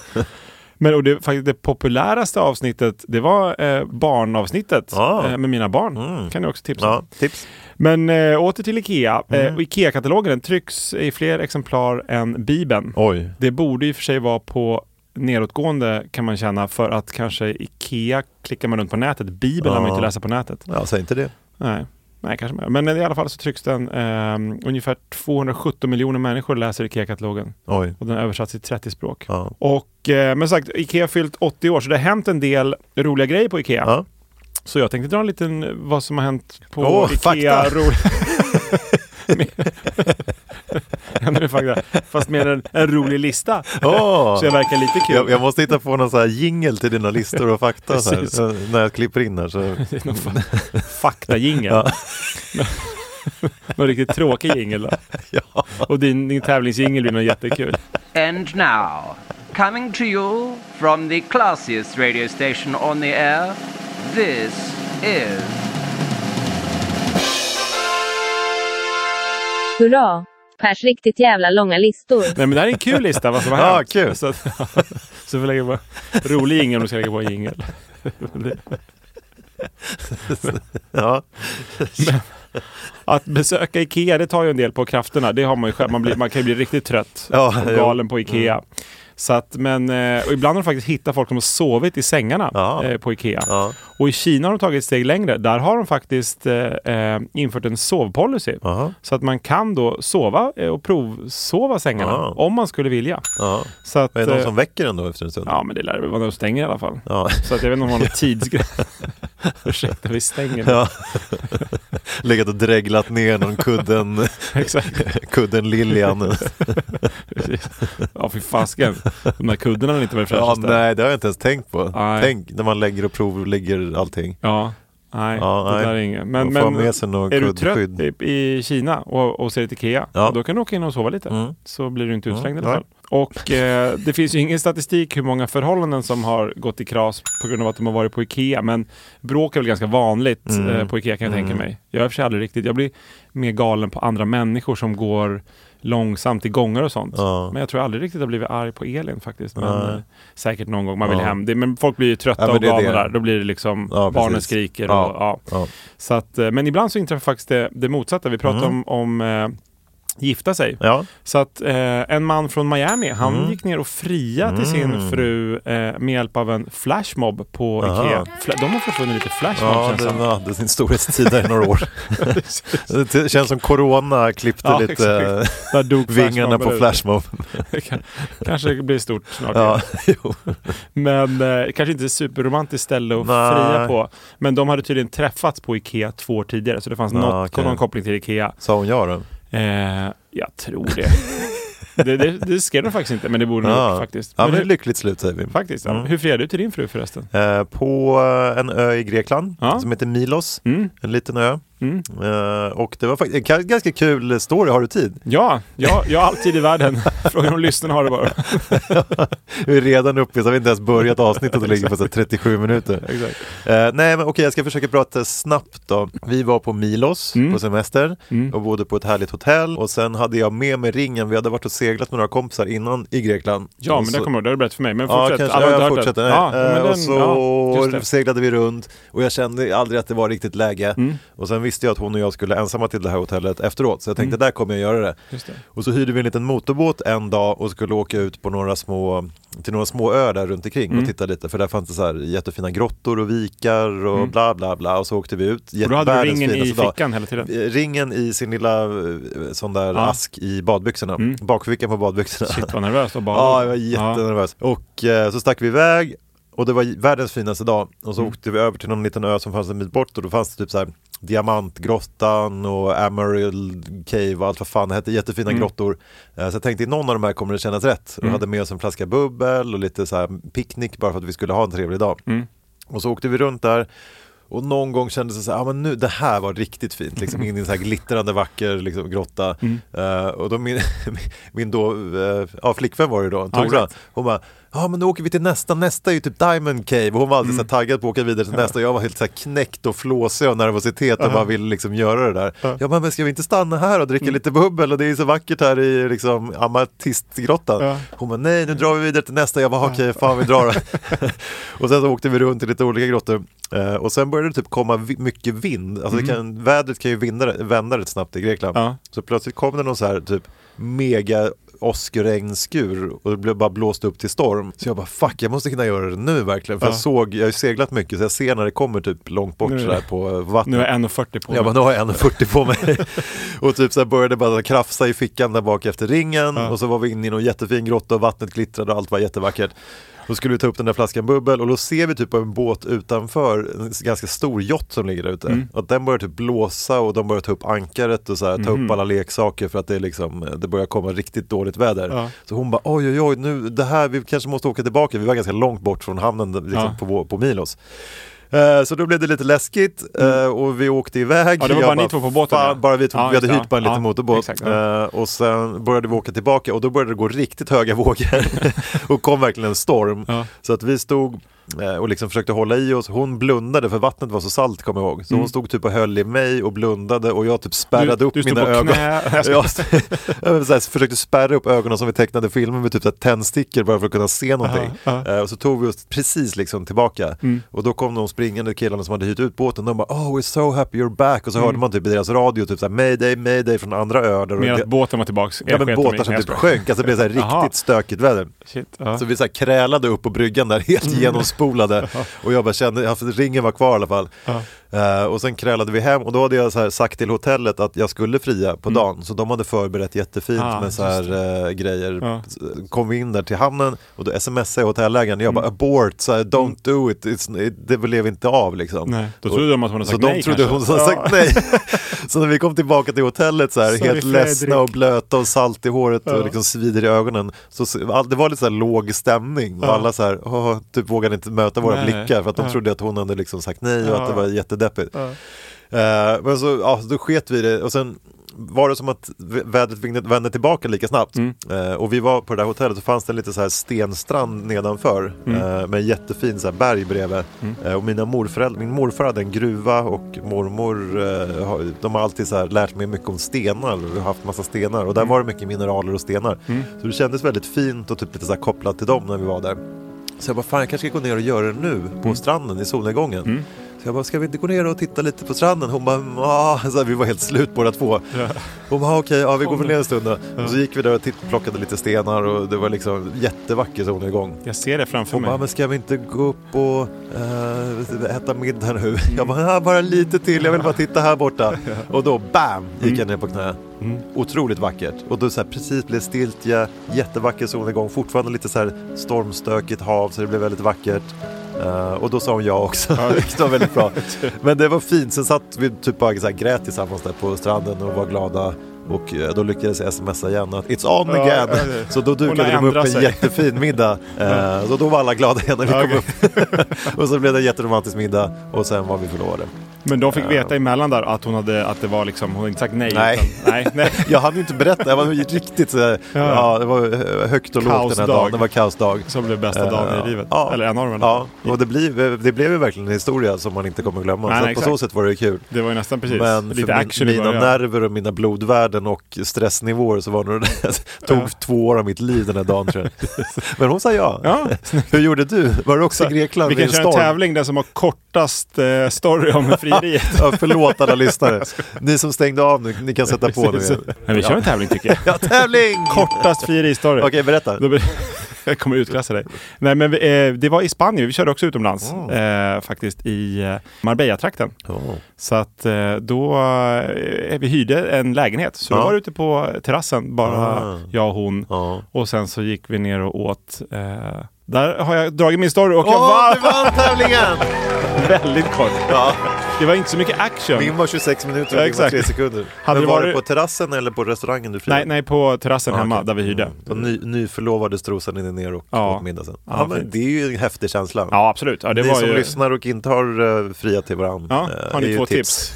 B: Men och det, faktiskt det populäraste avsnittet, det var eh, barnavsnittet
C: Ja.
B: eh, med mina barn.
C: Mm.
B: Kan du också tipsa om.
C: Ja, Mm. tips.
B: Men eh, åter till Ikea. Eh, och Ikea-katalogen den trycks i fler exemplar än Bibeln.
C: Oj.
B: Det borde i och för sig vara på nedåtgående kan man känna för att kanske Ikea klickar man runt på nätet. Bibeln har man
C: Ja.
B: inte läsa på nätet.
C: Ja, säg inte det.
B: Nej, nej kanske mer. Men i alla fall så trycks den. ehm, ungefär 217 miljoner människor läser Ikea-katalogen
C: Oj.
B: och den har översatts till 30 språk.
C: Ja.
B: Och eh, men sagt, Ikea har fyllt 80 år så det har hänt en del roliga grejer på Ikea.
C: Ja.
B: Så jag tänkte dra en liten vad som har hänt på
C: Åh,
B: Ikea.
C: fakta.
B: Ro- Ja, men fakta. Fast med en, en rolig lista.
C: Åh!
B: Så jag verkar lite kul.
C: Jag, jag måste hitta på någon så här jingel till dina listor och fakta så
B: Precis.
C: här, eh, när jag klipper in här. Så.
B: Det är någon fa- faktajingel. någon riktigt tråkig jingel.
C: Ja.
B: Och din, din tävlingsjingel blir nog jättekul.
E: And now, coming to you from the classiest radio station on the air, this is.
F: Hurra! Pers riktigt jävla långa listor.
B: Nej men det här är en kul lista vad som har
C: Ja,
B: hänt.
C: kul.
B: Så, att- så vi lägger på rolig jingel om du ska lägga på en jingel.
C: Ja.
B: Att besöka Ikea, det tar ju en del på krafterna. Det har man ju själv. Man, blir, man kan ju bli riktigt trött
C: Ja,
B: och
C: jo. Mm.
B: galen på Ikea. Så att, men, eh, och ibland har de faktiskt hittat folk som har sovit i sängarna
C: Ja.
B: eh, på Ikea.
C: Ja.
B: Och i Kina har de tagit ett steg längre. Där har de faktiskt eh, eh, infört en sovpolicy.
C: Aha.
B: Så att man kan då sova eh, och provsova sängarna
C: Ja.
B: om man skulle vilja.
C: Ja.
B: Så att,
C: Är det någon
B: eh,
C: som väcker den då efter en stund?
B: Ja, men det lär väl vara när de stänger i alla fall.
C: Ja.
B: Så att jag vet inte om de har någon tidsgräns. Ursäkta, vi stänger.
C: Ja. Legat och dreglat ner någon kudden,
B: Exakt.
C: kudden Lilian.
B: Precis. Ja, fy fasken. De där kuddarna är inte varit
C: Ja,
B: fräschaste.
C: nej, det har jag inte ens tänkt på.
B: Nej.
C: Tänk när man lägger och provlägger allting.
B: Ja, nej.
C: Ja,
B: det
C: nej.
B: där är inget.
C: Man
B: Men,
C: får
B: men
C: ha med sig någon
B: är du
C: kuddskydd.
B: trött i, i Kina och, och ser ett Ikea,
C: Ja.
B: då kan du åka in och sova lite.
C: Mm.
B: Så blir du inte utslängd
C: Mm,
B: i alla fall. Och eh, det finns ju ingen statistik hur många förhållanden som har gått i kras på grund av att de har varit på Ikea. Men bråk är väl ganska vanligt
C: Mm.
B: eh, på Ikea kan jag tänka mig. Jag är i och för sig aldrig riktigt, jag blir mer galen på andra människor som går långsamt i gångar och sånt.
C: Ja.
B: Men jag tror aldrig riktigt jag har blivit arg på Elin faktiskt. Men
C: Nej.
B: eh, säkert någon gång, man vill
C: Ja.
B: hem. Det, men folk blir ju trötta
C: Ja, men
B: och
C: det är
B: galna
C: det.
B: där. Då blir det liksom,
C: Ja,
B: barnen
C: precis.
B: skriker. Och,
C: Ja.
B: ja.
C: Ja.
B: Så att, eh, men ibland så inträffar faktiskt det, det motsatta. Vi pratade om, om eh, gifta sig.
C: Mm. Ja. Mm.
B: Så att eh, en man från Miami, han gick ner och fria till sin fru eh, med hjälp av en flashmob på Ikea. Fla- de har fortfarande lite flashmobs
C: Ja,
B: känns
C: den
B: det
C: hade sin storhetstid där i några år. det känns som corona klippte
B: Ja,
C: lite eh,
B: exakt. Där dog
C: vingarna på
B: flashmobben ut.
C: flashmob.
B: som. Kanske blir stort snart.
C: Ja, jo.
B: Men eh, kanske inte ett superromantiskt ställe att
C: Nej.
B: fria på. Men de hade tydligen träffats på Ikea två år tidigare, så det fanns
C: Ja,
B: något,
C: okej.
B: någon koppling till Ikea.
C: Sa hon ja då?
B: Eh, jag tror det. det, det. Det skrev de faktiskt inte, men det borde de
C: Ja,
B: gjort Mm, faktiskt.
C: ja men
B: hur-
C: ett lyckligt slut säger vi.
B: faktiskt ja.
C: Mm.
B: Hur friar du till din fru förresten?
C: Eh, På eh, en ö i Grekland
B: Ja.
C: som heter Milos,
B: Mm.
C: en liten ö.
B: Mm.
C: Eh, Och det var faktiskt en ganska kul story, har du tid?
B: Ja, ja, jag har alltid i världen. Frågan om lyssnarna har det bara.
C: Vi är redan uppe, så har vi inte ens börjat avsnittet och ligger på så här 37 minuter.
B: Exakt.
C: Eh, nej men okej, jag ska försöka prata snabbt då. Vi var på Milos
B: Mm.
C: på semester
B: Mm.
C: och bodde på ett härligt hotell och sen hade jag med mig ringen. Vi hade varit och seglat med några kompisar innan i Grekland.
B: Ja,
C: Och
B: men
C: så-
B: det kommer jag ihåg. Det har du berättat för mig. Men
C: Ja,
B: fortsätt.
C: kanske.
B: Alla har
C: Ja,
B: inte
C: jag
B: hört det.
C: fortsätter. Nej.
B: Ja,
C: Eh,
B: men den,
C: och så
B: ja, just det.
C: seglade vi runt och jag kände aldrig att det var riktigt läge.
B: Mm.
C: Och sen visste jag att hon och jag skulle ensamma till det här hotellet efteråt, så jag tänkte där kommer jag göra det.
B: Mm. Just det.
C: Och så hyrde vi en liten motorbåt en dag och skulle åka ut på några små, till några små öar där runt omkring
B: Mm.
C: och titta lite, för där fanns det så här jättefina grottor och vikar och bla bla bla. Och så åkte vi ut.
B: Mm. Och då hade du
C: Världens
B: ringen i
C: finaste dag.
B: fickan hela tiden.
C: Eh, Ringen i sin lilla eh, sån där
B: Ja. Mm.
C: ask i badbyxorna, bakfickan på badbyxorna.
B: Shit vad nervös och bara.
C: Ja, jag var jättenervös. Och eh, så stack vi iväg och det var världens finaste dag. Och så åkte vi över till någon liten ö som fanns en bit bort och då fanns det typ så här Diamantgrottan och Emerald Cave och allt vad fan det hette, jättefina grottor. Eh, Så jag tänkte i någon av de här kommer det kännas rätt. Och hade med oss en flaska bubbel och lite så här picknick bara för att vi skulle ha en trevlig dag. Och så åkte vi runt där och någon gång kändes det så här, ah, men nu, det här var riktigt fint, liksom, in i en så här glittrande vacker liksom, grotta. Eh, och då min, min då, eh, ja, flickvän var det då, Tora,
B: exakt.
C: hon bara, ja men då åker vi till nästa, nästa är ju typ Diamond Cave. Och hon var alltid så här, taggad på att åka vidare till nästa och jag var helt så här, knäckt och flåsig av nervositet och bara ville liksom göra det där. Jag bara, men ska vi inte stanna här och dricka lite bubbel och det är så vackert här i liksom, amatistgrottan.
B: Ja.
C: Hon bara, nej nu drar vi vidare till nästa. Jag bara, okej fan vi drar. då." och sen så åkte vi runt till lite olika grottor. Eh, och sen började det typ komma vi- mycket vind. Alltså det kan, vädret kan ju vinda, vända rätt snabbt i Grekland.
B: Mm. Ja.
C: Så plötsligt kom det någon så här typ mega åskregnskur och det blev bara blåst upp till storm. Så jag bara fuck, jag måste hinna göra det nu verkligen. För
B: Ja.
C: jag såg, jag har ju seglat mycket så jag ser när det kommer typ långt bort
B: Nu är det-
C: sådär på vattnet.
B: Nu är jag 1,40 på
C: Ja men
B: mig.
C: nu har jag 1,40 på mig. och typ så här började bara krafsa i fickan där bak efter ringen
B: Ja.
C: och så var vi inne i någon jättefin grotta och vattnet glittrade och allt var jättevackert. Då skulle vi ta upp den där flaskan bubbel och då ser vi typ en båt utanför, en ganska stor jott som ligger där ute.
B: Mm.
C: Och den börjar typ blåsa och de börjar ta upp ankaret och så här, ta
B: Mhm.
C: upp alla leksaker för att det, är liksom, det börjar komma riktigt dåligt väder.
B: Ja.
C: Så hon bara oj oj oj, nu, det här, vi kanske måste åka tillbaka. Vi var ganska långt bort från hamnen liksom,
B: Ja.
C: på, vår- på Milos. Eh, Så då blev det lite läskigt eh, och vi åkte iväg.
B: Mm. Ja, det var
C: Jag
B: bara ni två på båten,
C: "Fan,
B: ja."
C: Bara vi två,
B: Ja,
C: vi hade
B: just det,
C: hyrt bara en
B: ja.
C: liten
B: Ja,
C: motorbåt.
B: exakt, ja.
C: Eh, Och sen började vi åka tillbaka och då började det gå riktigt höga vågor och kom verkligen en storm.
B: Ja.
C: Så att vi stod eh, och liksom försökte hålla i oss. Hon blundade för vattnet var så salt kommer jag ihåg. Så hon stod typ och höll i mig och blundade och jag typ spärrade
B: Mm. Du-
C: upp
B: du stod
C: mina
B: på
C: ögon.
B: knä.
C: jag jag så här, försökte spärra upp ögonen som vi tecknade filmen med typ så här tändstickor bara för att kunna se någonting.
B: Aha, Mm.
C: Eh, Och så tog vi oss precis liksom tillbaka. Och då kom de springande killarna som hade hyrt ut båten. De bara “Oh, we're so happy you're back” och så
B: Mm.
C: hörde man typ i deras radio typ så här, “Mayday, mayday” från andra öar. där-
B: Mer att båten var tillbaks.
C: Ja
B: Jag
C: men
B: sket om
C: båtar
B: mig.
C: som
B: Jag
C: typ
B: skojar.
C: sjönk, alltså det blev så här
B: Jaha.
C: riktigt stökigt väder.
B: Shit, ja. Mm.
C: Så vi så här krälade upp på bryggan där helt genomspolade och jag bara kände, ja, för ringen var kvar i alla fall. Eh, och sen krälade vi hem och då hade jag så här sagt till hotellet att jag skulle fria på dagen så de hade förberett jättefint
B: Mm. Ah,
C: med så här eh, grejer.
B: Ja.
C: S- Kom vi in där till hamnen och då smsade jag hotellägaren, jag
B: Mm.
C: bara abort, så här, don't do it, It's, it, det blev inte av liksom.
B: Nej, då
C: Och-
B: trodde de att hon hade
C: så
B: sagt
C: de
B: nej
C: trodde
B: kanske.
C: hon hade sagt nej. Så när vi kom tillbaka till hotellet så här,
B: Sorry,
C: helt ledsna
B: Fredrik.
C: och blöta och salt i håret och liksom svider i ögonen. Så, så, all- det var lite så här låg stämning och alla så här, "Åh", typ vågade inte möta våra
B: Nej.
C: blickar för att de
B: Ja.
C: trodde att hon hade liksom sagt nej och
B: Ja.
C: att det var jättedeppigt. Eh, men så, ja, så då sket vi i det och sen var det som att vä- vädret vingde- vände tillbaka lika snabbt.
B: Mm.
C: Eh, och vi var på det där hotellet så fanns det en liten så här stenstrand nedanför
B: Mm.
C: eh, med en jättefin så här berg bredvid. Eh, och mina morföräldrar, min morfar hade en gruva och mormor, eh, har- de har alltid så här lärt mig mycket om stenar och haft massa stenar
B: Mm.
C: och där var det mycket mineraler och stenar. Så det kändes väldigt fint och typ lite så här kopplat till dem när vi var där. Så jag bara, fan jag kanske ska gå ner och göra det nu på stranden i solnedgången. Så jag bara, ska vi inte gå ner och titta lite på stranden? Hon bara, "Nja." så här, vi var helt slut båda två. Hon bara, "Ah, okej, ja, vi går väl ner en stund då. Och så gick vi där och titt, plockade lite stenar och det var liksom jättevacker solnedgång.
B: Jag ser det framför
C: Hon bara,
B: mig.
C: men ska vi inte gå upp och eh, äta middag nu? Jag bara, "Ja, bara lite till, jag vill bara titta här borta. Och då bam, gick jag ner på knä. Otroligt vackert. Och då så här, precis blev stiltje, jättevacker solnedgång, fortfarande lite så här stormstökigt hav så det blev väldigt vackert. Eh, och då sa hon ja också, vilket var väldigt bra. Men det var fint, sen satt vi typ bara så här, grät tillsammans där på stranden och var glada. Och eh, då lyckades jag smsa igen att it's on
B: Ja,
C: again.
B: ja, ja.
C: Så då
B: Hon har
C: dukade de upp en
B: ändrat sig.
C: jättefin middag. Eh, så då var alla glada igen när vi
B: Ja,
C: kom upp. och så blev det en jätteromantisk middag och sen var vi förlovade.
B: Men de fick veta emellan där att hon hade, att det var liksom, hon hade inte sagt nej.
C: Nej.
B: Utan, nej, nej.
C: Jag hann ju inte berätta, jag var ju riktigt så här, ja. det var eh, högt och lågt den här
B: Kaosdag.
C: dagen. Det var kaosdag.
B: Som blev bästa dagen i livet.
C: Eh, Ja.
B: Eller en av dem. eller?
C: Ja, och det blev, det blev ju verkligen en historia som man inte kommer glömma.
B: Nej,
C: så
B: nej,
C: att på
B: exakt.
C: så sätt var det ju kul.
B: Det var ju nästan precis.
C: Men
B: Lite
C: för
B: action
C: min,
B: i
C: mina
B: början.
C: nerver och mina blodvärden och stressnivåer så var nog det där, tog två år av mitt liv den här dagen tror jag. Men hon sa ja.
B: Ja,
C: Hur gjorde du? Var du också i Grekland
B: vi
C: vid
B: kan
C: en
B: köra en
C: storm?
B: tävling, den som har kortast eh, story om frieriet.
C: Ja, förlåt alla lyssnare. Ni som stängde av nu, ni kan sätta på nu
B: Precis.
C: igen.
B: Men vi kör en tävling tycker jag.
C: Ja, tävling!
B: Kortast frierihistoria.
C: Okej, berätta.
B: Då blir- Jag kommer utklassa dig. Nej, men vi, eh, det var i Spanien, vi körde också utomlands
C: Ah.
B: eh, faktiskt i eh, Marbella-trakten.
C: Oh.
B: Så att eh, då, eh, vi hyrde en lägenhet. Så
C: Ja.
B: då var det ute på terrassen, bara
C: Ah.
B: jag och hon.
C: Ja.
B: Och sen så gick vi ner och åt. Eh, där har jag dragit min story och jag
C: Åh,
B: vann!
C: du vann tävlingen!
B: Väldigt kort.
C: Ja,
B: Det var inte så mycket action.
C: min var 26 minuter och
B: Ja,
C: din var
B: exakt.
C: 3 sekunder.
B: Hade
C: Men
B: det
C: var det
B: varit-
C: på terrassen eller på restaurangen du firade?
B: Nej, nej, på terrassen
C: Ah,
B: hemma
C: okej.
B: där vi hyrde.
C: Då ny, nyförlovade strosan in ner och
B: Ja.
C: åt middag sen. Ja,
B: Ja,
C: men
B: fint.
C: det är ju en häftig känsla.
B: Ja, absolut. Ja, det
C: Ni
B: var
C: som
B: ju...
C: lyssnar och inte har uh, fria till eh, varandra.
B: Ja, har ni två tips?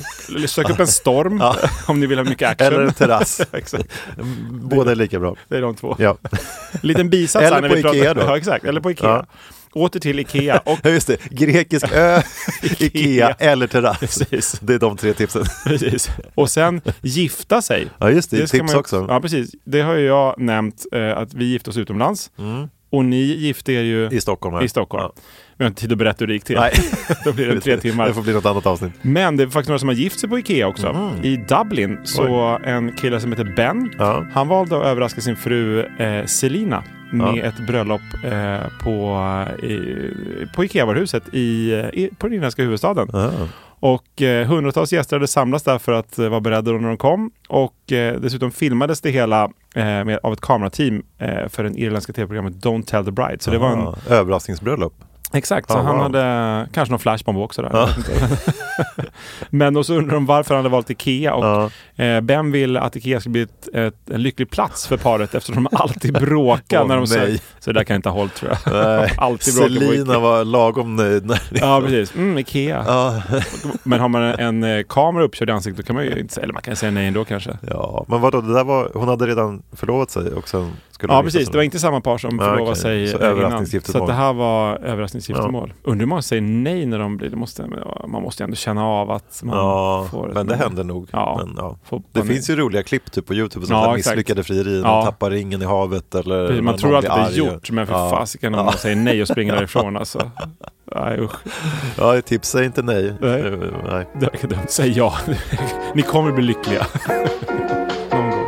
B: Sök upp en storm
C: Ja.
B: om ni vill ha mycket action.
C: Eller en terrass.
B: Exakt.
C: Båda är lika bra.
B: Det är de två.
C: Ja.
B: Liten bisats
C: Eller
B: här när
C: på
B: vi pratar.
C: Ikea då.
B: Ja, exakt. Eller på Ikea.
C: Ja.
B: Åter till Ikea. Och
C: Ja, just det. Grekisk ö, Ikea eller terrass.
B: Precis.
C: Det är de tre tipsen.
B: Precis. Och sen gifta sig.
C: Ja, just det.
B: ska
C: tips
B: ju-
C: också.
B: Ja, precis. Det har ju jag nämnt eh, att vi gifte oss utomlands. Och ni gifte er ju
C: Mm. I Stockholm. här.
B: i Stockholm.
C: Ja.
B: Vi har inte tid att berätta hur det gick till.
C: Nej.
B: Då blir det tre timmar.
C: Det får bli något annat avsnitt.
B: Men det är faktiskt några som har gift sig på Ikea också.
C: Mm.
B: I Dublin så en kille som heter Ben,
C: Ja.
B: han valde att överraska sin fru eh, Selina med
C: Ja.
B: ett bröllop eh, på, i, på Ikea-varuhuset i, i, på den irländska huvudstaden. Och eh, hundratals gäster hade samlats där för att eh, vara beredda då när de kom. Och eh, dessutom filmades det hela eh, med, av ett kamerateam eh, för den irländska tv-programmet Don't Tell the Bride. Så det var en
C: Ja, Överraskningsbröllop.
B: Exakt, så
C: Ah,
B: han
C: wow.
B: hade kanske någon flashbomb också där. Jag vet inte. Men och så undrar de varför han hade valt Ikea och
C: Ja.
B: eh, Ben vill att Ikea ska bli ett, ett, en lycklig plats för paret eftersom de alltid bråkar
C: Åh,
B: när de
C: nej.
B: säger Så det där kan jag inte ha hållit tror jag.
C: Nej,
B: alltid bråkar på
C: Eh, Selina
B: Ikea.
C: var lagom nöjd. När
B: Ja, precis. Mm, Ikea.
C: ja.
B: Men har man en, en eh, kamera uppkörd i ansiktet då kan man ju inte säga, eller man kan säga nej ändå kanske.
C: ja, men vadå, det där var, hon hade redan förlovat sig och sen skulle
B: Ja
C: hon gifta
B: precis,
C: sig.
B: det var inte samma par som
C: Ah,
B: förlovade
C: okej.
B: sig
C: Så
B: eh, innan. Så
C: överraskningsgiftermål.
B: att det här var överraskningsgiftermål. Undrar hur många säger nej när de blir, det måste, man måste ju ändå känna av att man
C: Ja,
B: får ett
C: men det
B: nej.
C: hände nog.
B: Ja.
C: Men, ja.
B: Får
C: Det
B: panik.
C: finns ju roliga klipp typ på Youtube som
B: Ja,
C: ja,
B: exakt.
C: misslyckade frierier,
B: Ja.
C: man tappar ringen i havet eller...
B: Precis,
C: när
B: man
C: någon
B: tror alltid
C: blir
B: att det är
C: arg.
B: gjort, men för
C: ja.
B: fasiken om någon säger nej och springer därifrån alltså. Nej usch,
C: Ja, tips säger inte nej.
B: Nej.
C: Eh, nej.
B: det verkar dumt. Säg ja. Ni kommer bli lyckliga. Någon gång.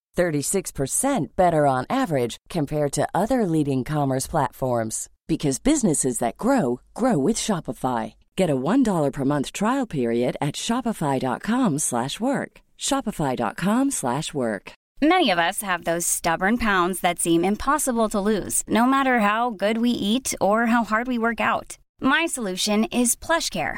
G: 36% better on average compared to other leading commerce platforms because businesses that grow grow with Shopify. Get a $1 per month trial period at shopify.com/work. slash work. shopify.com/work. slash work.
H: Many of us have those stubborn pounds that seem impossible to lose, no matter how good we eat or how hard we work out. My solution is PlushCare.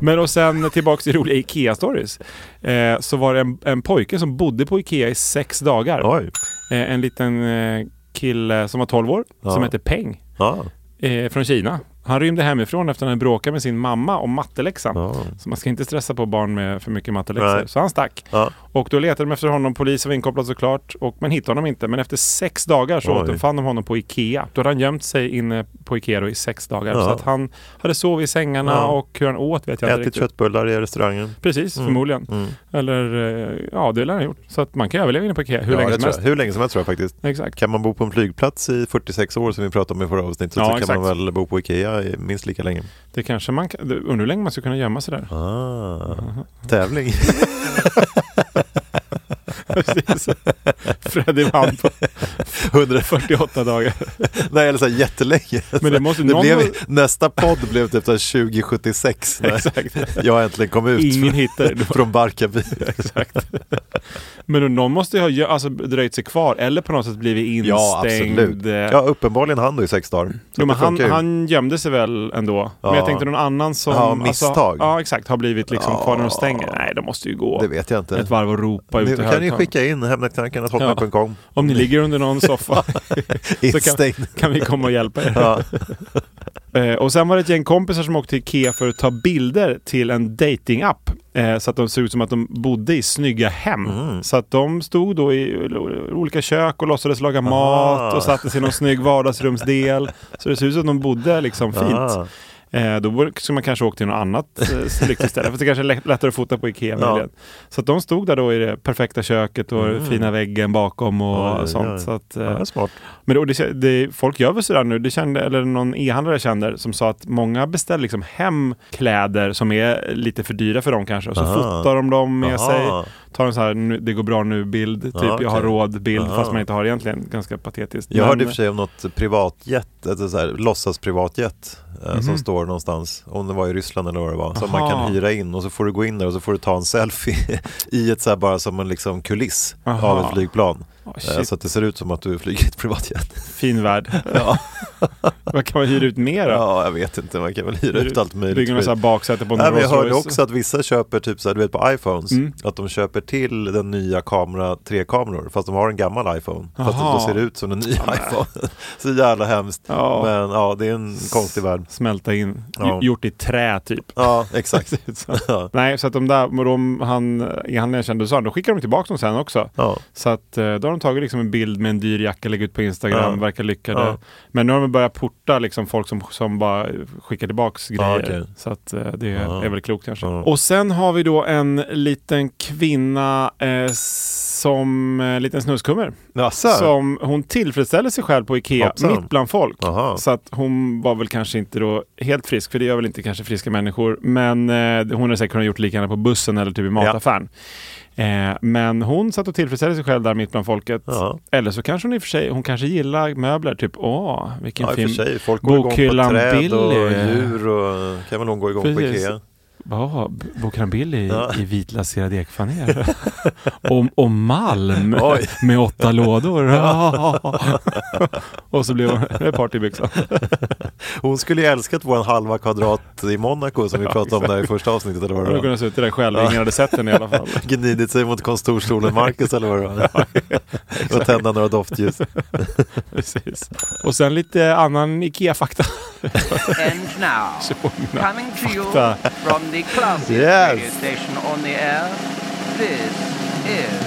B: Men och sen tillbaka till roliga IKEA-stories. Eh, så var det en, en pojke som bodde på IKEA i sex dagar.
C: Oj.
B: Eh, en liten eh, kille som var 12 år,
C: Ja.
B: som hette Peng,
C: Ja.
B: eh, från Kina. Han rymde hemifrån efter att han bråkat med sin mamma om matteläxan.
C: Ja.
B: Så man ska inte stressa på barn med för mycket matteläxor.
C: Nej.
B: Så han stack.
C: Ja.
B: Och då letade de efter honom, polisen var inkopplad såklart, och man hittade honom inte. Men efter sex dagar så
C: Oj.
B: återfann de honom på Ikea. Då hade han gömt sig inne på Ikea då i sex dagar.
C: Ja.
B: Så att han hade sovit i sängarna
C: Ja.
B: och hur han åt vet jag inte
C: Ätit
B: riktigt.
C: köttbullar i restaurangen.
B: Precis, förmodligen.
C: Mm.
B: Eller eh, ja, det lär han ha gjort. Så att man kan överleva inne på Ikea hur
C: Ja,
B: länge
C: det
B: som
C: tror jag.
B: helst.
C: Hur länge som helst tror jag faktiskt.
B: Exakt.
C: Kan man bo på en flygplats i 46 år som vi pratade om i förra avsnittet
B: Ja,
C: så kan
B: exakt.
C: man väl bo på Ikea i minst lika länge.
B: Det kanske man kan, det- undrar hur länge man ska kunna gömma sig där.
C: Ah, tävling.
B: Precis. Freddy vann på 148 dagar.
C: Nej, eller så här jättelänge.
B: Men det måste
C: Det
B: någon...
C: blev, nästa podd blev typ så här 2076 när
B: Exakt.
C: jag äntligen kom ut
B: Ingen hittade det.
C: från, från Barkarby.
B: Exakt. Men någon måste ju ha gö- alltså, dröjt sig kvar eller på något sätt blivit instängd.
C: Ja, absolut.
B: Eh,
C: Ja, uppenbarligen hann du i sex dagar. Så
B: Jo, men
C: det
B: han,
C: funkar ju.
B: han gömde sig väl ändå. Men jag
C: Ja.
B: tänkte någon annan som...
C: Ja, misstag.
B: Alltså, ja, exakt. Har blivit liksom kvar när de
C: Ja.
B: stänger. Nej, de måste ju gå.
C: Det vet jag inte.
B: Ett varv och ropa ut i
C: Ni kan ju
B: högtalarna.
C: skicka in hemnetankarna.com.
B: Om ni ligger under någon soffa så kan,
C: Instängd.
B: kan vi komma och hjälpa er.
C: Ja.
B: Eh, och sen var det ett gäng kompisar som åkte till Ikea för att ta bilder till en datingapp. Eh, så att de såg ut som att de bodde i snygga hem.
C: Mm.
B: Så att de stod då i o- olika kök och låtsades laga mat och satte sig i någon snygg vardagsrumsdel. Så det såg ut som att de bodde liksom fint.
C: Ah.
B: Eh, då borde- skulle man kanske åkt till något annat eh, lyckligt ställe. För det kanske är lätt- lättare att fota på Ikea
C: Ja. Mm.
B: möjligen. Så att de stod där då i det perfekta köket och den fina väggen bakom och
C: Oj, oj,
B: sånt.
C: oj.
B: Så att, eh,
C: Ja, det är smart.
B: men det, och det, det, folk gör väl sådär nu, det kände, eller någon e-handlare kände som sa att många beställer liksom hem kläder som är lite för dyra för dem kanske. Och så
C: Aha.
B: fotar de dem med
C: Aha.
B: sig, tar en så här nu, det går bra nu-bild, typ
C: Ja,
B: jag har
C: okej.
B: råd-bild,
C: Aha.
B: fast man inte har egentligen. Ganska patetiskt.
C: Jag
B: Men-
C: hörde i och för sig om något privatjet, alltså så här, låtsas privatjet eh, som står någonstans, om det var i Ryssland eller vad det var, som man
B: Mhm. Aha.
C: kan hyra in och så får du gå in där och så får du ta en selfie i ett så här bara som en liksom kuliss
B: Aha.
C: av ett flygplan.
B: Åh,
C: Eh,
B: shit,
C: Så att det ser ut som att du flyger i ett privatjet.
B: fin värld.
C: Ja.
B: Vad kan man hyra ut mer då?
C: ja, jag vet inte, man kan väl hyra ut allt möjligt.
B: Bygger någon
C: skit.
B: sån här baksäte på en
C: Nej, men jag
B: Rolls
C: hörde
B: Royce.
C: också att vissa köper, typ så här, du vet på iPhones,
B: Mm.
C: att de köper till den nya kamera, tre kameror, fast de har en gammal iPhone. Fast
B: Aha.
C: då ser det ut som en ny iPhone. så jävla hemskt.
B: Ja.
C: Men ja, det är en konstig värld.
B: Smälta in,
C: Ja.
B: gjort i trä typ.
C: Ja, exakt. ja.
B: Nej, så att de där, de, han, han jag kände, sa, då skickar de tillbaka dem sen också.
C: Ja.
B: Så att eh, då har de tagit liksom en bild med en dyr jacka, lägger ut på Instagram,
C: Ja.
B: verkar lyckade.
C: Ja.
B: Men nu har de börjat porta liksom folk som, som bara skickar tillbaks grejer.
C: okej.
B: Så att eh, det
C: Ja.
B: är väl klokt kanske.
C: Ja.
B: Och sen har vi då en liten kvinna eh, som eh, liten snuskummer.
C: Jaså?
B: Som hon tillfredsställer sig själv på Ikea,
C: Hoppsan.
B: mitt bland folk.
C: Aha.
B: Så att hon var väl kanske inte då helt frisk, för det gör väl inte kanske friska människor. Men eh, hon hade säkert kunnat gjort lika gärna på bussen eller typ i mataffären. Eh, men hon satt och tillfredsställde sig själv där mitt bland folket.
C: Ja.
B: Eller så kanske hon i och för sig, hon kanske gillar möbler. Typ, åh, vilken
C: Ja, i och
B: fin
C: för sig. Folk går igång på
B: bokhyllan
C: träd och
B: Billy.
C: djur och kan väl hon gå igång på
B: Precis.
C: Ikea.
B: Ja, b- Bokhyllan Billy i-
C: Ja.
B: i vit laserad ekfanér. och, och malm
C: Oj.
B: med åtta lådor. och så blev hon partybyxa.
C: Hon skulle ju älskat vår halva kvadrat i Monaco som vi pratade om där i första avsnittet. Eller vad
B: Hon
C: det
B: hade
C: var.
B: kunnat suttit där själv, ingen hade sett henne i alla fall.
C: Gnidit sig mot kontorstolen Marcus eller vad det var. och tända några doftljus.
B: Precis. Och sen lite annan IKEA-fakta.
E: And now, coming to you
B: Fakta.
E: from the classiest
C: Yes.
E: radio station on the air, this is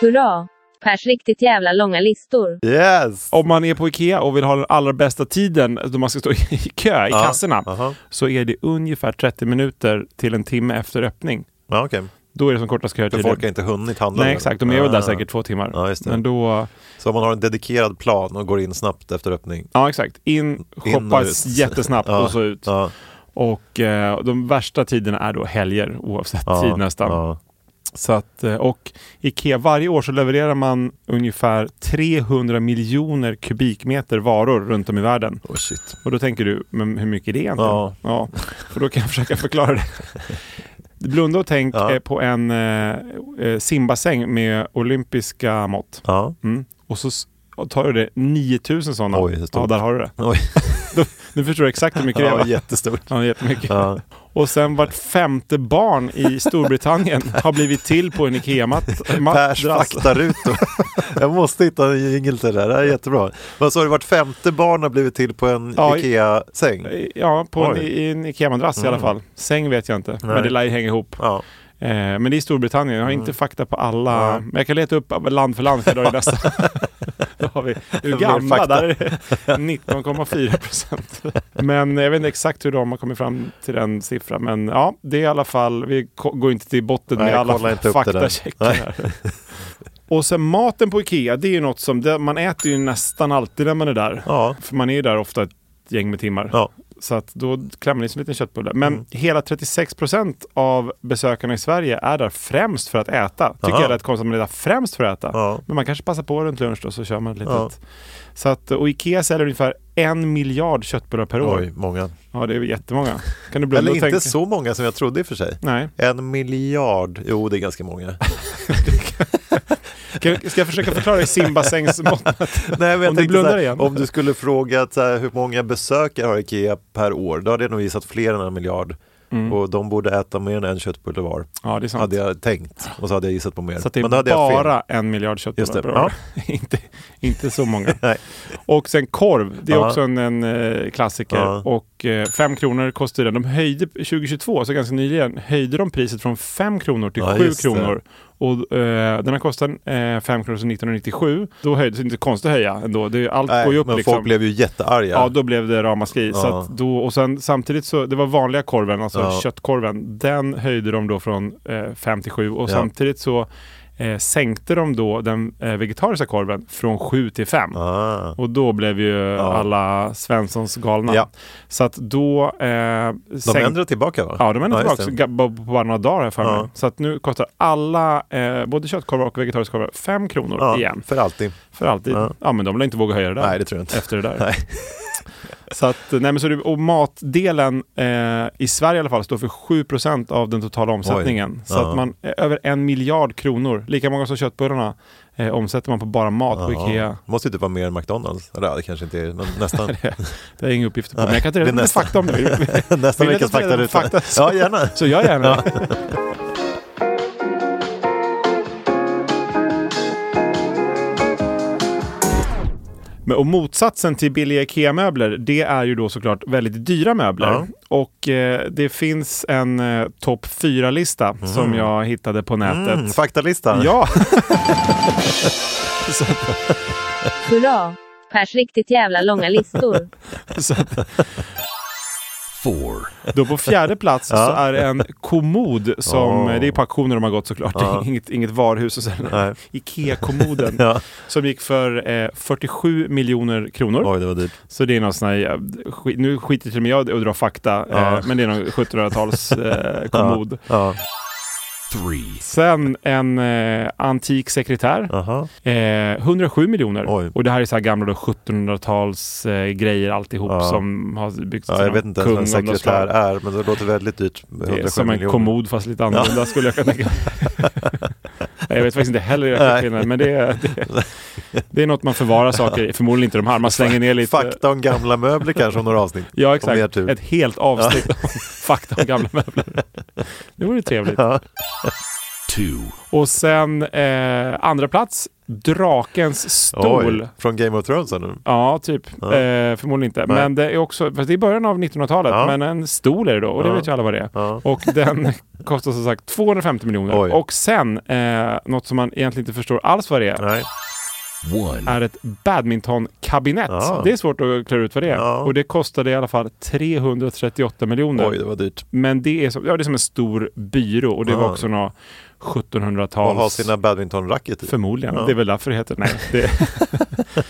F: Hurra! Pers riktigt jävla långa listor.
C: Yes!
B: Om man är på IKEA och vill ha den allra bästa tiden då man ska stå i kö i
C: Ja,
B: kassorna
C: aha.
B: så är det ungefär 30 minuter till en timme efter öppning.
C: Ja, okej.
B: Då är det som kortast
C: För
B: kötid.
C: folk har inte hunnit handla.
B: Nej
C: nu.
B: exakt, de är väl
C: Ah.
B: där säkert två timmar.
C: Ja, just det.
B: Men då,
C: Så om man har en dedikerad plan och går in snabbt efter öppning.
B: ja exakt, in, shoppa
C: och ut.
B: jättesnabbt
C: Ja,
B: och så ut.
C: Ja,
B: Och eh, de värsta tiderna är då helger oavsett
C: ja,
B: tid nästan.
C: ja.
B: Så att, eh, och IKEA, varje år så levererar man ungefär 300 miljoner kubikmeter varor runt om i världen.
C: Oh, shit.
B: Och då tänker du, men hur mycket är det egentligen?
C: Ja.
B: ja. Och då kan jag försöka förklara det. Blunda och tänk
C: Ja.
B: eh, på en eh, eh, simbassäng med olympiska mått.
C: Ja.
B: Mm. Och så s- tar du det 9000 sådana.
C: Oj, hur stort?
B: ja, där har du det.
C: Oj,
B: Nu förstår du exakt hur mycket det
C: ja,
B: är. va?
C: jättestort.
B: Ja, jättemycket.
C: Ja.
B: Och sen vart femte barn i Storbritannien har blivit till på en
C: Pers
B: IKEA-madrass.
C: faktarutor. Jag måste hitta en jingel till det där, det här är jättebra. Vad sa du, vart femte barn har blivit till på en
B: Ja, i-
C: IKEA-säng?
B: Ja, på en,
C: Oj. Mm.
B: i en IKEA-madrass i alla fall. Säng vet jag inte,
C: Nej.
B: men det lär ju hänga ihop.
C: Ja.
B: Eh, men det är Storbritannien, jag har
C: Mm.
B: inte fakta på alla. Men jag kan leta upp land för land för idag i nästa. Då har vi Uganda,
C: fakta.
B: där är det 19,4 procent. Men jag vet inte exakt hur de har kommit fram till den siffran. Men ja, det är i alla fall, vi ko- går inte till botten
C: Nej,
B: med
C: kolla
B: alla
C: inte upp det där.
B: faktacheckar här. Och sen maten på Ikea, det är ju något som, det, man äter ju nästan alltid när man är där.
C: Ja.
B: För man är ju där ofta ett gäng med timmar.
C: Ja.
B: Så att då klämmer ni som en liten köttbulle. Men
C: Mm.
B: hela 36 procent av besökarna i Sverige är där främst för att äta. Tycker
C: Aha.
B: jag är rätt konstigt att man är där främst för att äta.
C: Ja.
B: Men man kanske passar på runt lunch då så kör man ett litet.
C: Ja.
B: Så att, och Ikea säljer ungefär en miljard köttbullar per år.
C: Oj, många.
B: Ja, det är jättemånga. Kan du blunda
C: Eller
B: och
C: inte
B: tänka?
C: så många som jag trodde i och för sig.
B: Nej.
C: En miljard, jo det är ganska många.
B: Ska, ska jag försöka förklara i simbassängsmått?
C: Nej, men jag
B: Om du
C: tänkte
B: blundar
C: så här,
B: igen.
C: Om du skulle fråga så här, hur många besökare har IKEA per år, då hade jag nog gissat fler än en miljard. Och de borde äta mer än en köttbulle var,
B: Mm. Ja, det är sant.
C: hade jag tänkt. Och så hade jag gissat på mer.
B: Så att det är
C: men då hade jag fel.
B: bara en miljard
C: Just det,
B: köttbullar per år. inte, inte så många.
C: Nej.
B: Och sen korv, det är
C: Ja.
B: också en, en eh, klassiker.
C: Ja.
B: Och eh, fem kronor kostar den. De höjde 2022, så ganska nyligen, höjde de priset från fem kronor till
C: Ja,
B: sju
C: just det.
B: kronor. Och eh, den har kostat eh, fem kronor sedan 1997. Då höjdes det inte konstigt att höja ändå. Det, är ju- allt
C: Nej,
B: går ju upp
C: men
B: liksom.
C: folk blev ju jättearga.
B: Ja, då blev det ramaskri. Så
C: Ja.
B: att då, och sen, samtidigt så, det var vanliga korven, alltså
C: Ja.
B: köttkorven, den höjde de då från 5 till 7 och
C: Ja.
B: samtidigt så eh, sänkte de då den eh, vegetariska korven från 7 till 5.
C: Ah.
B: Och då blev ju alla Svenssons galna.
C: Ja.
B: Så att då... Eh,
C: De
B: sänk-
C: ändrar tillbaka va?
B: Ja, de ändrar
C: just
B: tillbaka
C: det.
B: ga- bara på bara några dagar här för mig.
C: Ja.
B: Så att nu kostar alla, eh, både köttkorvar och vegetariska korvar, 5 kronor
C: Ja,
B: igen.
C: För alltid.
B: För alltid. Ja.
C: Ja.
B: men de lär inte våga höja det där.
C: Nej, det tror jag inte.
B: Efter det där.
C: Nej.
B: Så att, nej men så det, och matdelen eh, i Sverige i alla fall står för 7 av den totala omsättningen. Så
C: Ja.
B: att man, eh, över en miljard kronor, lika många som köttbullarna, eh, omsätter man på bara mat på
C: Ja.
B: Ikea.
C: Det måste ju typ vara mer än McDonalds. Eller ja, det kanske inte är, men nästan.
B: Det har jag inga uppgifter på, men jag kan ta reda
C: det är
B: på lite
C: nästa.
B: fakta om det. Vill- vill-
C: Nästa
B: vill ni
C: veckas
B: att jag tar reda på
C: faktaruta.
B: fakta?
C: Ja, gärna.
B: Så gör gärna det. Men, och motsatsen till billiga IKEA-möbler, det är ju då såklart väldigt dyra möbler.
C: Ja.
B: Och eh, det finns en eh, topp 4-lista som jag hittade på nätet.
C: Mm, faktalista.
B: Ja,
F: Hurra! Pers riktigt jävla långa listor.
B: så att, då på fjärde plats så är det en kommod som,
C: Oh.
B: eh, det är på auktioner de har gått såklart,
C: Ja.
B: inget, inget varhus och sen
C: Nej.
B: Ikea-kommoden
C: Ja.
B: som gick för eh, 47 miljoner kronor.
C: Oj, det var dyrt.
B: Så det är någon sån här, eh, sk- nu skiter till och med jag i att dra fakta,
C: Ja.
B: eh, men det är någon 1700-tals eh, kommod.
C: Ja.
B: Sen en eh, antik sekretär,
C: Aha.
B: eh, 107 miljoner.
C: Oj.
B: Och det här är så här gamla då, 1700-tals eh, grejer alltihop
C: Ja.
B: som har byggts
C: Ja,
B: till
C: jag
B: någon
C: vet inte ens vad en
B: av något
C: sekretär
B: slag.
C: är, men det låter väldigt dyrt.
B: Det är
C: 107
B: som en
C: miljoner.
B: kommod fast lite annorlunda skulle jag kunna tänka mig. Nej, Jag vet faktiskt inte heller exakt
C: Nej.
B: skillnaden, men det är, det, det är något man förvarar saker i. Förmodligen inte de här, man slänger ner lite.
C: Fakta om gamla möbler kanske om några avsnitt.
B: Ja,
C: Om vi har
B: exakt.
C: tur.
B: Ett helt avsnitt om fakta om gamla möbler. Det vore trevligt.
C: Ja.
B: Och sen eh, andra plats, Drakens stol.
C: Oj, från Game of Thrones eller?
B: Ja, typ. Eh, förmodligen inte.
C: Nej.
B: Men det är också, fast det är början av 1900-talet,
C: Ja.
B: men en stol är det då och det
C: Ja.
B: vet ju alla vad det är.
C: Ja.
B: Och den kostar som sagt 250 miljoner.
C: Oj.
B: Och sen, eh, något som man egentligen inte förstår alls vad det är,
C: Nej.
B: är ett badmintonkastspö. kabinett.
C: Ja.
B: Det är svårt att klura ut vad det är.
C: Ja.
B: Och det kostade i alla fall 338 miljoner.
C: Oj, det var dyrt.
B: Men det är, som, ja, det är som en stor byrå och det var
C: Ja.
B: också några
C: Och ha
B: 1700-tals...
C: sina badmintonracket i.
B: Förmodligen.
C: Ja.
B: Det är väl därför det heter nej. Det...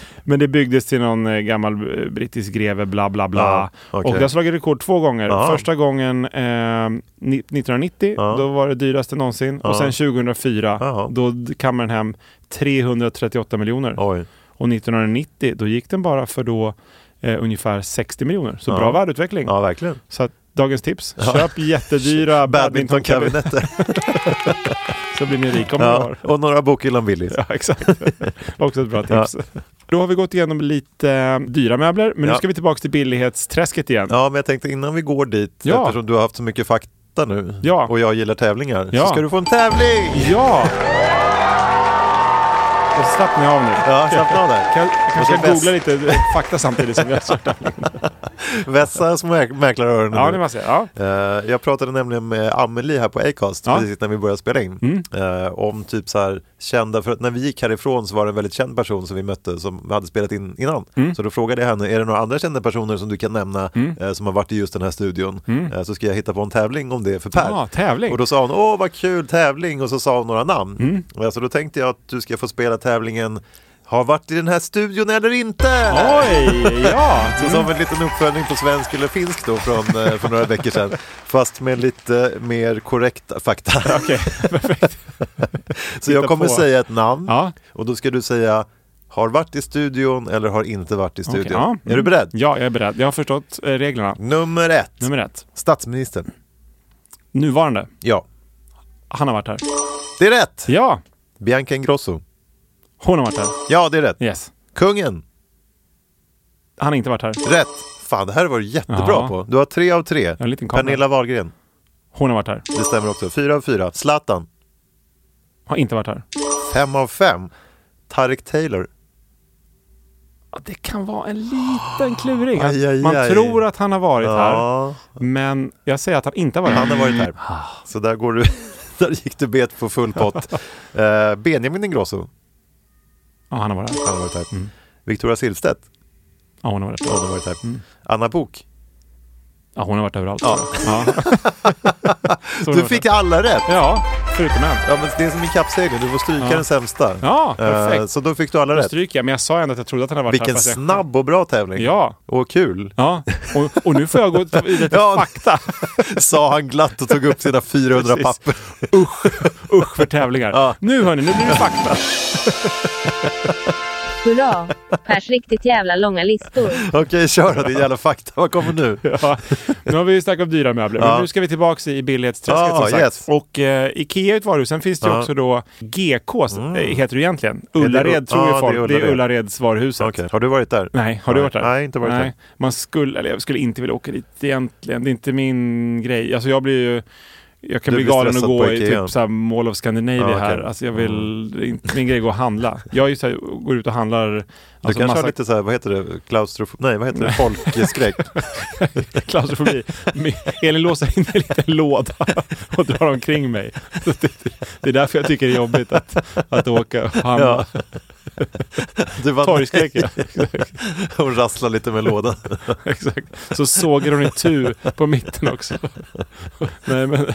B: Men det byggdes till någon eh, gammal eh, brittisk greve, bla bla bla.
C: Ja, okej.
B: Och det har slagit rekord två gånger.
C: Ja.
B: Första gången eh, ni- 1990,
C: Ja.
B: då var det dyraste någonsin.
C: Ja.
B: Och sen 2004,
C: Ja.
B: då d- kammade den hem 338 miljoner.
C: Oj.
B: Och 1990, då gick den bara för då eh, ungefär 60 miljoner. Så
C: Ja.
B: bra värdeutveckling.
C: Ja, verkligen.
B: Så att, dagens tips, köp jättedyra badmintonkabinett
C: Badmintonkabinetter.
B: så blir ni rika om några
C: ja.
B: år.
C: Och några bokhyllan Willys.
B: Ja, exakt. Var också ett bra tips. Då har vi gått igenom lite eh, dyra möbler, men nu
C: Ja.
B: ska vi tillbaka till billighetsträsket igen.
C: Ja, men jag tänkte innan vi går dit,
B: Ja.
C: eftersom du har haft så mycket fakta nu
B: Ja.
C: och jag gillar tävlingar,
B: Ja.
C: så ska du få en tävling!
B: Ja! Och så slappnar jag av nu.
C: Ja, slappna av där.
B: Kan, jag kanske
C: Och så
B: jag googlar
C: väst-
B: lite eh, fakta samtidigt som jag startar.
C: Vässa små mäk- mäklaröronen
B: Ja,
C: nu.
B: det måste jag. Ja.
C: Eh, jag pratade nämligen med Amelie här på Acast
B: Ja. Mm.
C: precis när vi började spela in. eh, om typ så här kända, för att när vi gick härifrån så var det en väldigt känd person som vi mötte som vi hade spelat in innan.
B: Mm.
C: Så då frågade jag henne, är det några andra kända personer som du kan nämna eh, som har varit i just den här studion? Eh, så ska jag hitta på en tävling om det för Per.
B: Mm. Ja, tävling. Mm.
C: Och då sa hon, åh vad kul tävling och så sa hon några namn. Eh, så då tänkte jag att du ska få spela tävlingen har varit i den här studion eller inte?
B: Oj, ja!
C: Så som en liten uppföljning på svensk eller finsk då från eh, för några veckor sedan. Fast med lite mer korrekta fakta.
B: Okej, perfekt.
C: Så jag
B: Hitta
C: kommer
B: på.
C: säga ett namn
B: Ja.
C: och då ska du säga har varit i studion eller har inte varit i studion.
B: Okej, ja.
C: Är du beredd?
B: Ja, jag är beredd. Jag har förstått eh, reglerna.
C: Nummer ett.
B: Nummer ett.
C: Statsministern.
B: Nuvarande.
C: Ja.
B: Han har varit här.
C: Det är rätt.
B: Ja,
C: Bianca Ingrosso.
B: hon har varit här.
C: Ja, det är rätt.
B: Yes.
C: Kungen.
B: Han har inte varit här.
C: Rätt. Fan, det här var du jättebra
B: Ja.
C: på. Du har tre av tre.
B: en liten kamera.
C: Pernilla Wahlgren.
B: Hon har varit här.
C: Det stämmer också. Fyra av fyra. Zlatan.
B: Har inte varit här.
C: Fem av fem. Tareq Taylor.
B: Ja, det kan vara en liten kluring.
C: Aj, aj,
B: Man
C: aj.
B: tror att han har varit här,
C: Ja.
B: men jag säger att han inte har varit
C: Han
B: här.
C: har varit här.
B: Ah.
C: Så där, går du, där gick du bet på full pott. Eh, Benjamin Ingrosso,
B: Ja, han har varit här.
C: han har varit här.
B: Mm.
C: Victoria Silvstedt,
B: Ja, hon har varit här.
C: hon har varit här.
B: Mm.
C: Anna Bok.
B: Ja, hon har varit överallt. Ja. Så hon har
C: Du
B: varit
C: fick
B: här.
C: alla rätt!
B: Ja, förutom en.
C: Ja, men det är som en kappsegling, du får stryka
B: Ja.
C: den sämsta.
B: Ja, perfekt.
C: Eh, så då fick du alla
B: Då
C: rätt.
B: stryker jag, men jag sa ändå att jag trodde att han har varit här.
C: Vilken
B: fast jag-
C: snabb och bra tävling.
B: Ja.
C: Och kul,
B: Ja, och, och nu får jag gå till- i lite
C: Ja.
B: fakta.
C: sa han glatt och tog upp sina 400
B: Precis.
C: papper.
B: Usch, usch för tävlingar.
C: Ja.
B: Nu hörni, nu blir det fakta.
F: Hurra! Pers riktigt jävla långa listor.
C: Okej, kör då, din jävla fakta. Vad kommer nu?
B: Ja. Nu har vi ju snackat om dyra möbler,
C: Ja.
B: men nu ska vi tillbaka i billighetsträsket
C: Ja,
B: som sagt.
C: yes.
B: Och eh, Ikea är ett varuhus, sen finns det ju
C: Ja. Mm.
B: också då GK, s- eh, heter det egentligen.
C: det-
B: Ullared tror
C: ja,
B: ju folk,
C: det
B: det
C: är
B: är,
C: Ullared.
B: Ullareds varuhuset.
C: Okej, Har du varit där?
B: Nej, har du
C: Nej.
B: varit där?
C: Nej, inte varit där.
B: Man skulle, eller jag skulle inte vilja åka dit egentligen. Det är inte min grej. Alltså jag blir ju... Jag kan
C: Du
B: bli
C: blir
B: galen och
C: stressad
B: gå
C: på
B: i
C: Ikea.
B: typ så här Mall of Scandinavia
C: Ja, okej. Mm.
B: här. Alltså jag vill, det är inte min grej är att gå och handla. Jag är ju så här, går ut och handlar alltså
C: Du kanske
B: massa
C: har lite så här, vad heter det, klaustrofobi? Nej, vad heter det, folkskräck?
B: klaustrofobi. Men Elin låser in mig i en liten låda och drar omkring mig. Så det- Det är därför jag tycker det är jobbigt att, att åka och handla.
C: Du var
B: Torgskräck, ja.
C: Hon rasslar lite med lådan.
B: Exakt. Så sågar hon itu på mitten också. Nej, men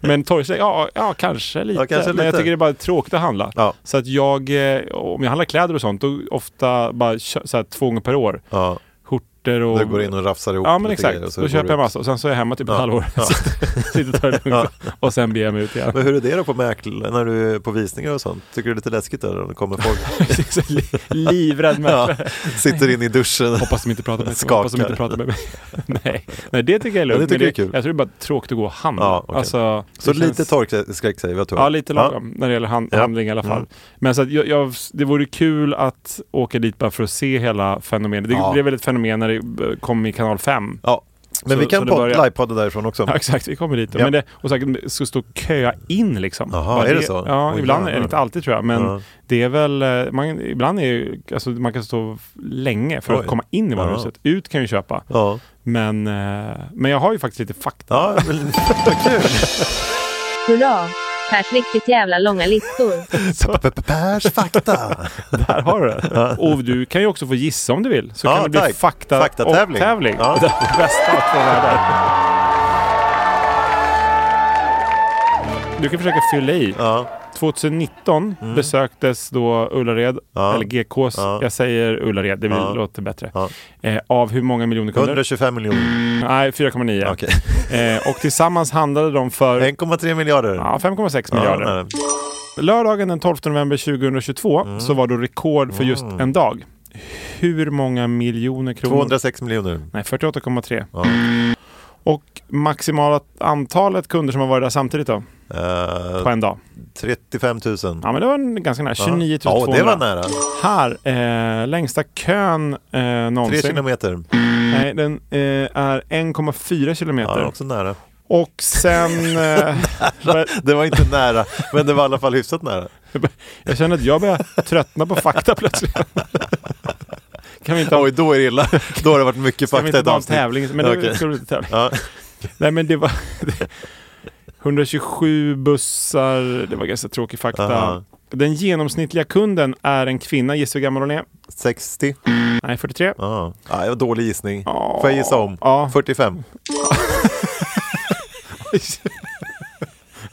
B: men torgskräck, ja, ja kanske, lite.
C: Ja, kanske
B: Men jag
C: lite.
B: tycker det är bara tråkigt att handla.
C: Ja.
B: Så att jag, eh, om jag handlar kläder och sånt, då ofta bara kö- så här, två gånger per år.
C: Ja,
B: Skjortor och...
C: du går in och rafsar ihop
B: Ja men
C: lite
B: exakt,
C: grejer och så
B: då
C: går
B: köper
C: du
B: jag
C: ut.
B: massa och sen så är jag hemma typ ett
C: Ja.
B: halvår.
C: Ja.
B: Sitter- Sitter och tar det lugnt och sen beger jag mig ut igen.
C: Men hur är det då på mäkl- när du är på visningar och sånt? Tycker du det är lite läskigt där när det kommer folk?
B: Precis, li- Livrädd
C: ja,
B: människa.
C: sitter in i duschen.
B: Hoppas de inte pratar med mig.
C: Skakar.
B: Hoppas de inte pratar med mig. Nej. Nej, det tycker jag är lugnt.
C: Ja, det tycker
B: men
C: jag är kul.
B: Jag tror det är bara tråkigt att gå och handla.
C: Ja, okej.
B: alltså,
C: Så
B: det
C: lite
B: känns-
C: torkskräck säger vi att du har.
B: Ja, lite lagom när det gäller hand,
C: Ja. Mm.
B: handling i alla fall. Men så att jag, jag, det vore kul att åka dit bara för att se hela fenomenet. Det
C: Ja.
B: blev väl ett fenomen när det eh, kom i kanal 5.
C: Ja. Men
B: Så-
C: vi
B: så
C: kan
B: det
C: podd-
B: börjar-
C: livepodda därifrån också.
B: Ja, exakt, vi kommer dit. då.
C: Ja.
B: Men det, och säkert så stå och köa in liksom.
C: Jaha,
B: Bara
C: är det så?
B: Ja,
C: Oj,
B: ibland,
C: jävlar.
B: eller inte alltid tror jag, men
C: Ja.
B: det är väl, eh, man, ibland är ju, alltså, man kan stå länge för
C: Oj.
B: att komma in i varuhuset. Ut kan vi köpa,
C: Ja,
B: men, eh, men jag har ju faktiskt lite fakta.
C: ja men, vad kul.
F: Hurra! Pers riktigt jävla långa listor.
C: Pers fakta.
B: Där har du det. Och du kan ju också få gissa om du vill. Så
C: Ja,
B: kan det bli
C: tack.
B: fakta
C: Faktatävling.
B: och tävling.
C: Ja.
B: Det är bästa av två världar. Du kan försöka fylla i.
C: Ja. Mm.
B: 2019 besöktes då Ullared,
C: Ja.
B: eller GKs,
C: Ja.
B: jag säger Ullared, det blir,
C: Ja.
B: låter bättre.
C: Ja.
B: Eh, av hur många miljoner kunder?
C: 125 miljoner.
B: Nej, 4,9.
C: Okej.
B: Eh, och tillsammans handlade de för
C: 1,3 miljarder.
B: ja, 5,6
C: Ja,
B: miljarder.
C: nej, nej.
B: Lördagen den 12 november 2022
C: Mm.
B: så var då rekord för just en dag. Hur många miljoner kronor?
C: 206 miljoner. Eh,
B: Nej, 48,3.
C: Ja.
B: Och maximala antalet kunder som har varit där samtidigt då,
C: Eh,
B: på en dag.
C: 35 000.
B: Ja, men det var en ganska nära.
C: Ja.
B: 29 200.
C: Ja, det var nära.
B: Här, eh, längsta kön eh,
C: 3
B: någonsin.
C: kilometer.
B: Nej, den eh, är 1,4
C: Ja,
B: kilometer.
C: det var också nära.
B: Och sen... Eh, vad-
C: Det var inte nära, men det var i alla fall hyfsat nära.
B: jag känner att jag börjar tröttna på fakta plötsligt. kan vi inte ha
C: Oj, då är det illa. Då har det varit mycket
B: Ska vi
C: fakta i
B: inte
C: ett
B: bara ha en
C: avsnitt.
B: tävling? Men det
C: Okej.
B: ska bli lite tävling.
C: Ja.
B: Nej men det var 127 bussar, det var ganska tråkig fakta.
C: Aha.
B: Den genomsnittliga kunden är en kvinna, gissa hur gammal hon är?
C: 60.
B: Nej, 43.
C: Ja, ah, det var dålig gissning. Får jag gissa om?
B: Ja.
C: 45.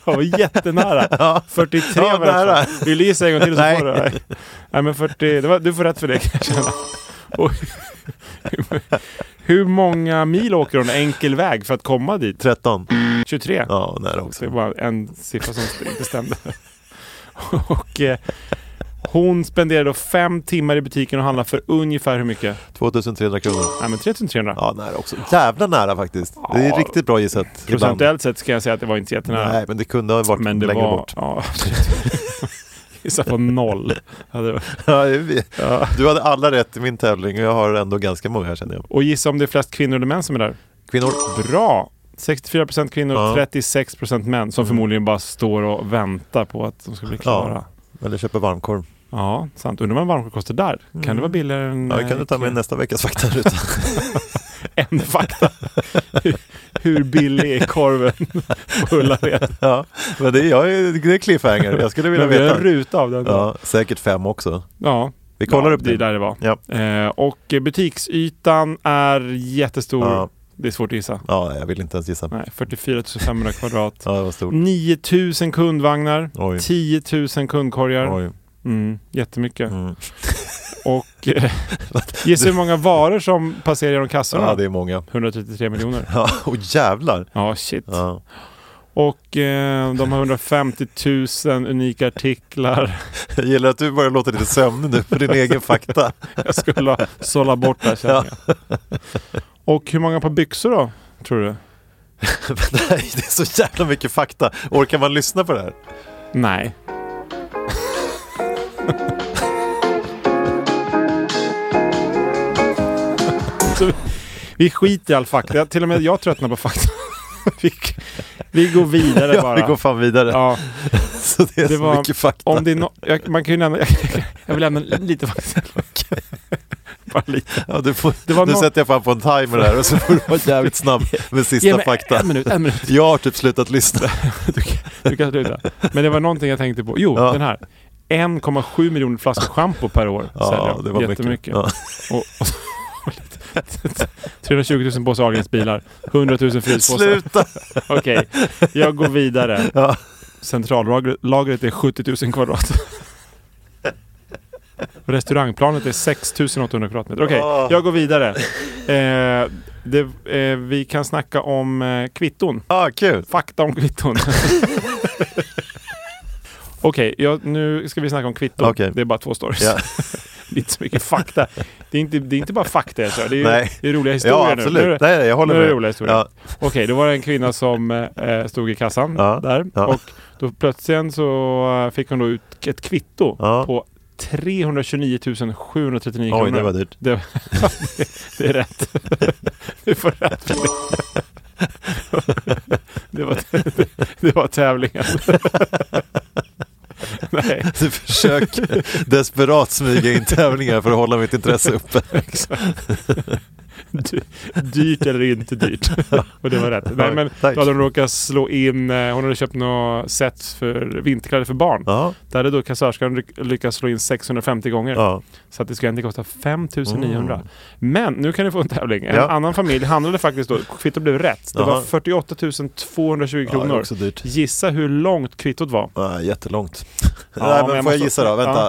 B: Jag var jättenära. 43
C: Ja,
B: var det
C: nära.
B: alltså. Vill du gissa en gång till så
C: Nej.
B: får du. Nej. Nej men 40, det var, du får rätt för det kan jag känna. Och, hur många mil åker hon enkel väg för att komma dit?
C: 13.
B: 23.
C: Ja, nära
B: Så Mm. det
C: också.
B: var en siffra som inte stämde. och eh, hon spenderade då fem timmar i butiken och handlade för ungefär hur mycket?
C: 2300 kronor.
B: Nej men 3300.
C: Ja, nära också. Jävla nära faktiskt. Det är riktigt bra gissat. ibland.
B: Procentuellt sett ska jag säga att det var inte jättenära.
C: Nej, men det kunde ha varit
B: men det
C: längre
B: var...
C: bort.
B: Ja, absolut. Gissa på noll. Ja, det var-
C: Ja, det är vi. Du hade alla rätt i min tävling och jag har ändå ganska många här känner jag.
B: Och gissa om det är flest kvinnor eller män som är där?
C: Kvinnor.
B: Bra! 64% kvinnor och
C: Ja. Mm.
B: 36% män som förmodligen bara står och väntar på att de ska bli klara.
C: Ja.
B: Ja,
C: Eller köper varmkorv.
B: sant. Undrar vad en varmkorv kostar där? Kan det vara billigare än...
C: Mm. Ja, det kan du ta med nästa veckas faktaruta.
B: en fakta. Hur- Hur billig är korven på Ullared?
C: ja, men det är, jag, är- det är cliffhanger. Jag skulle vilja
B: Men vi har en
C: veta.
B: ruta av den. Ja,
C: Ja, säkert fem också.
B: ja.
C: Vi kollar
B: ja,
C: upp
B: det. är
C: det.
B: där det var.
C: Ja.
B: Eh, och eh, butiksytan är jättestor.
C: Ja.
B: Det är svårt att gissa.
C: Ja, jag vill inte ens gissa.
B: Nej, 44 500 kvadrat.
C: Ja, det var stort.
B: 9 000 kundvagnar.
C: Oj.
B: 10 000 kundkorgar.
C: Oj.
B: Mm, jättemycket.
C: Mm.
B: Och eh, gissa hur många varor som passerar genom kassorna?
C: Ja, det är många.
B: 133 miljoner.
C: Ja, och jävlar.
B: Ja, shit.
C: Ja.
B: Och eh, de har 150 000 unika artiklar.
C: Jag gillar att du börjar låta lite sömnig nu för din egen fakta.
B: Jag skulle ha sållat bort det här känner jag. Och hur många par byxor då, tror du?
C: Nej, det är så jävla mycket fakta. Orkar man lyssna på det här?
B: Nej. Så vi- vi skiter i all fakta. Till och med jag tröttnar på fakta. Vi, vi går vidare
C: Ja,
B: bara.
C: vi går fan vidare.
B: Ja,
C: Så det är
B: Det
C: så
B: var-
C: mycket fakta.
B: om det är no- jag, man kan ju nämna, jag, jag vill nämna lite fakta. Bara lite.
C: Ja, du får,
B: Det var
C: nu
B: nå-
C: sätter jag fan på en timer här och så får du vara jävligt snabb med sista
B: Ge mig
C: fakta.
B: En minut, en minut.
C: Jag har typ slutat lyssna.
B: Du kan sluta. Men det var någonting jag tänkte på. Jo,
C: Ja.
B: den här. 1,7 miljoner flaskor schampo per år
C: Ja,
B: säljer
C: det var mycket.
B: Jättemycket.
C: Ja.
B: Och, och, och lite- 320 000 påsar Ahlgrens bilar. 100 000 fryspåsar.
C: Sluta!
B: Okej, jag går vidare.
C: Ja.
B: Centrallagret är 70 000 kvadrat. Restaurangplanet är 6 800 kvadratmeter. Okej,
C: Ah.
B: jag går vidare. Eh, det, eh, vi kan snacka om eh, kvitton.
C: Ah, kul!
B: Fakta om kvitton. Okej, ja, nu ska vi snacka om kvitton.
C: Okej.
B: Det är bara två stories.
C: Ja.
B: det är inte så mycket fakta. Det är inte, det är inte bara fakta jag kör. Det är,
C: Nej.
B: det är roliga historier nu.
C: Ja,
B: Nu är
C: absolut.
B: det-
C: Nej, nej, jag håller
B: nu är det
C: med.
B: roliga historier.
C: Ja.
B: Okej, då var det en kvinna som eh, stod i kassan
C: Ja,
B: där.
C: ja.
B: Och då plötsligt så eh, fick hon då ut ett kvitto
C: Ja.
B: på 329 739
C: Oj,
B: kronor.
C: det var dyrt.
B: Det, det är rätt. Du får rätt för det. Det var, det var tävlingen. Nej,
C: Du försöker desperat smyga in tävlingar för att hålla mitt intresse uppe.
B: exakt. Dy- dyrt eller inte dyrt. Och det var rätt. Nej, men
C: Tack.
B: då hade hon råkat slå in, eh, hon hade köpt något set för vinterkläder för barn.
C: Ja,
B: Där hade då kassörskan ry- lyckats slå in 650 gånger.
C: ja.
B: Så att det ska egentligen kosta 5900. Men nu kan du få en tävling. En
C: Mm. Ja.
B: annan familj handlade faktiskt då, kvittot blev rätt. Det var
C: Jaha.
B: 48 220
C: ja det är
B: kronor.
C: också dyrt.
B: Gissa hur långt kvittot var?
C: Ja, jättelångt.
B: Ja,
C: Nej,
B: men
C: men
B: jag
C: får jag
B: måste-
C: gissa då? Vänta,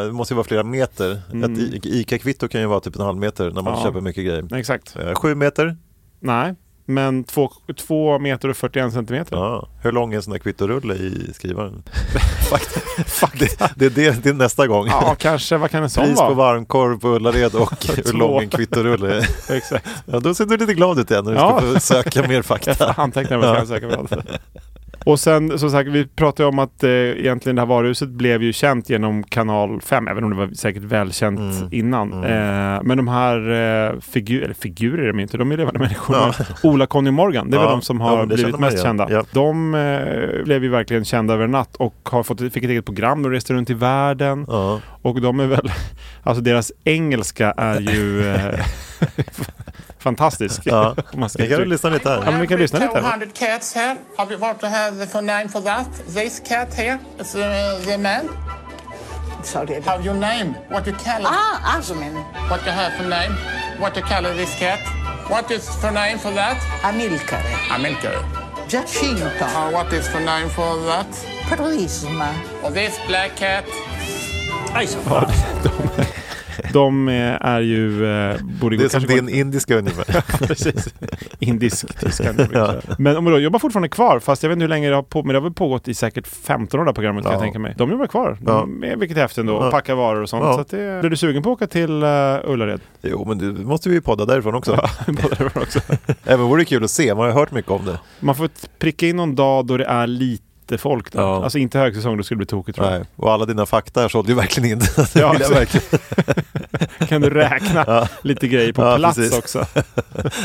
C: eh, det måste ju vara flera meter.
B: Mm.
C: Ett I- ICA-kvitto kan ju vara typ en halv meter när man
B: Ja.
C: köper mycket grejer.
B: Nej, exakt.
C: Eh, Sju meter?
B: Nej, men 2 meter och 41 centimeter.
C: Ja. Hur lång är en sån där kvittorulle i skrivaren? Fakt- Det, det, är det, det är nästa gång.
B: Ja, kanske. Vad kan en sån
C: Pris på
B: vara?
C: varmkorv på Ullared och hur
B: Två.
C: lång en kvittorulle är.
B: Exakt.
C: Ja, då ser du lite glad ut igen när du
B: Ja.
C: ska få söka mer fakta.
B: Antecknar vad jag ska söka på. Och sen som sagt, vi pratade om att eh, egentligen det här varuhuset blev ju känt genom kanal 5, även om det var säkert välkänt
C: Mm.
B: innan. Eh, men de här eh, figu- eller figurer är de inte, de är levande människor.
C: Ja.
B: Men Ola, Conny och Morgan, det är
C: Ja.
B: väl de som
C: Ja,
B: har
C: men det
B: blivit
C: känner man
B: mest
C: igen.
B: kända.
C: Ja.
B: De eh, blev ju verkligen kända över en natt och har fått, fick ett eget program och reste runt i världen.
C: Ja.
B: Och de är väl, alltså deras engelska är ju eh, fantastisk.
C: Ja.
B: om man ska
C: Vi kan väl
B: uttrycka-
C: lyssna lite
B: Ja,
C: här.
B: men vi kan lyssna lite. här.
I: cats here. Have you what have the name for that? This cat here is uh, the man. Sorry. Have your name? What you call it? Ah, Arzumin. What you have for name? What you call this cat? What is for name for that? Amilcar. Amilcar. Giacinto. Uh, what is for name for that? Prisma. Or this black cat?
B: De eh, är ju... Eh, borde
C: Det
B: gå-
C: är som
B: kanske
C: din indiska ungefär.
B: gå- Precis. Indisk tyska. liksom. Men om de jobbar fortfarande kvar, fast jag vet inte hur länge det har pågått, men det har väl pågått i säkert 15 år det här programmet kan
C: Ja.
B: jag tänka mig. De jobbar kvar, de, är- vilket är häftigt ändå, och
C: Ja.
B: packar varor och sånt.
C: Ja.
B: Så att det, blir du sugen på att åka till eh, Ullared?
C: Jo, men du måste vi ju podda därifrån också.
B: Båda de också.
C: Även vore det kul att se, man har ju hört mycket om det.
B: Man får t- pricka in någon dag då det är lite folk där.
C: Ja.
B: Alltså inte högsäsong, då skulle det bli tokigt tror jag.
C: Nej. Och alla dina fakta här sålde ju verkligen in. Det
B: Ja,
C: vill jag
B: alltså.
C: verkligen.
B: Kan du räkna lite grejer på
C: Ja,
B: plats
C: precis.
B: också?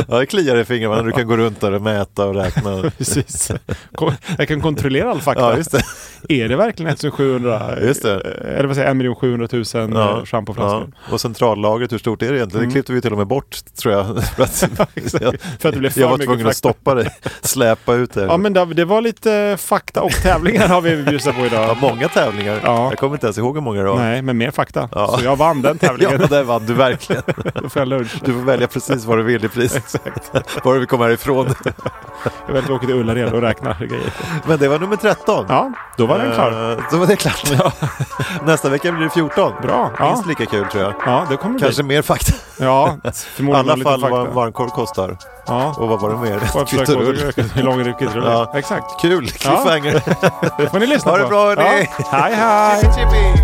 C: Ja, det kliar i fingrarna, du kan gå runt där och mäta och räkna.
B: Precis. Ko- Jag kan kontrollera all fakta.
C: Ja, just det.
B: Är det verkligen 1700?
C: Just det.
B: Eller vad säger jag, 1 700 000
C: Ja.
B: ja. shampooflaskor?
C: Ja. Och centrallagret, hur stort är det egentligen?
B: Mm.
C: Det klippte vi till och med bort tror jag. För att, jag,
B: För att det blev för
C: jag var
B: mycket
C: tvungen att
B: fakta.
C: stoppa det, släpa ut det.
B: Ja, men det, det var lite fakta och tävlingar har vi bjussat på
C: Ja,
B: idag.
C: många tävlingar.
B: Ja.
C: Jag kommer inte ens ihåg hur många det var.
B: Nej, men mer fakta.
C: Ja.
B: Så jag vann den
C: Ja,
B: tävlingen.
C: där vann du verkligen.
B: Då får jag lunch.
C: Du får välja precis vad du vill i pris. Exakt. Var du vill komma härifrån.
B: Jag vill åka till Ullared och räkna grejer.
C: Men det var nummer 13.
B: Ja, då var den klar.
C: Eh, Då var det klart. Nästa vecka blir det 14.
B: Bra. Ja,
C: Minst lika kul tror jag.
B: ja det kommer det
C: Kanske
B: bli.
C: mer fakta.
B: Ja,
C: I
B: förmodligen
C: alla
B: lite
C: fall vad en
B: fakta.
C: varmkorv kostar.
B: Ja.
C: Och vad var det mer?
B: Och försöka åka hur lång är det
C: Ja.
B: ja. Exakt.
C: Kul! Cliffhanger!
B: Det får ni lyssna
C: Ha
B: på.
C: det bra, hörni.
B: Ja. Hej, hej!
C: Chippy.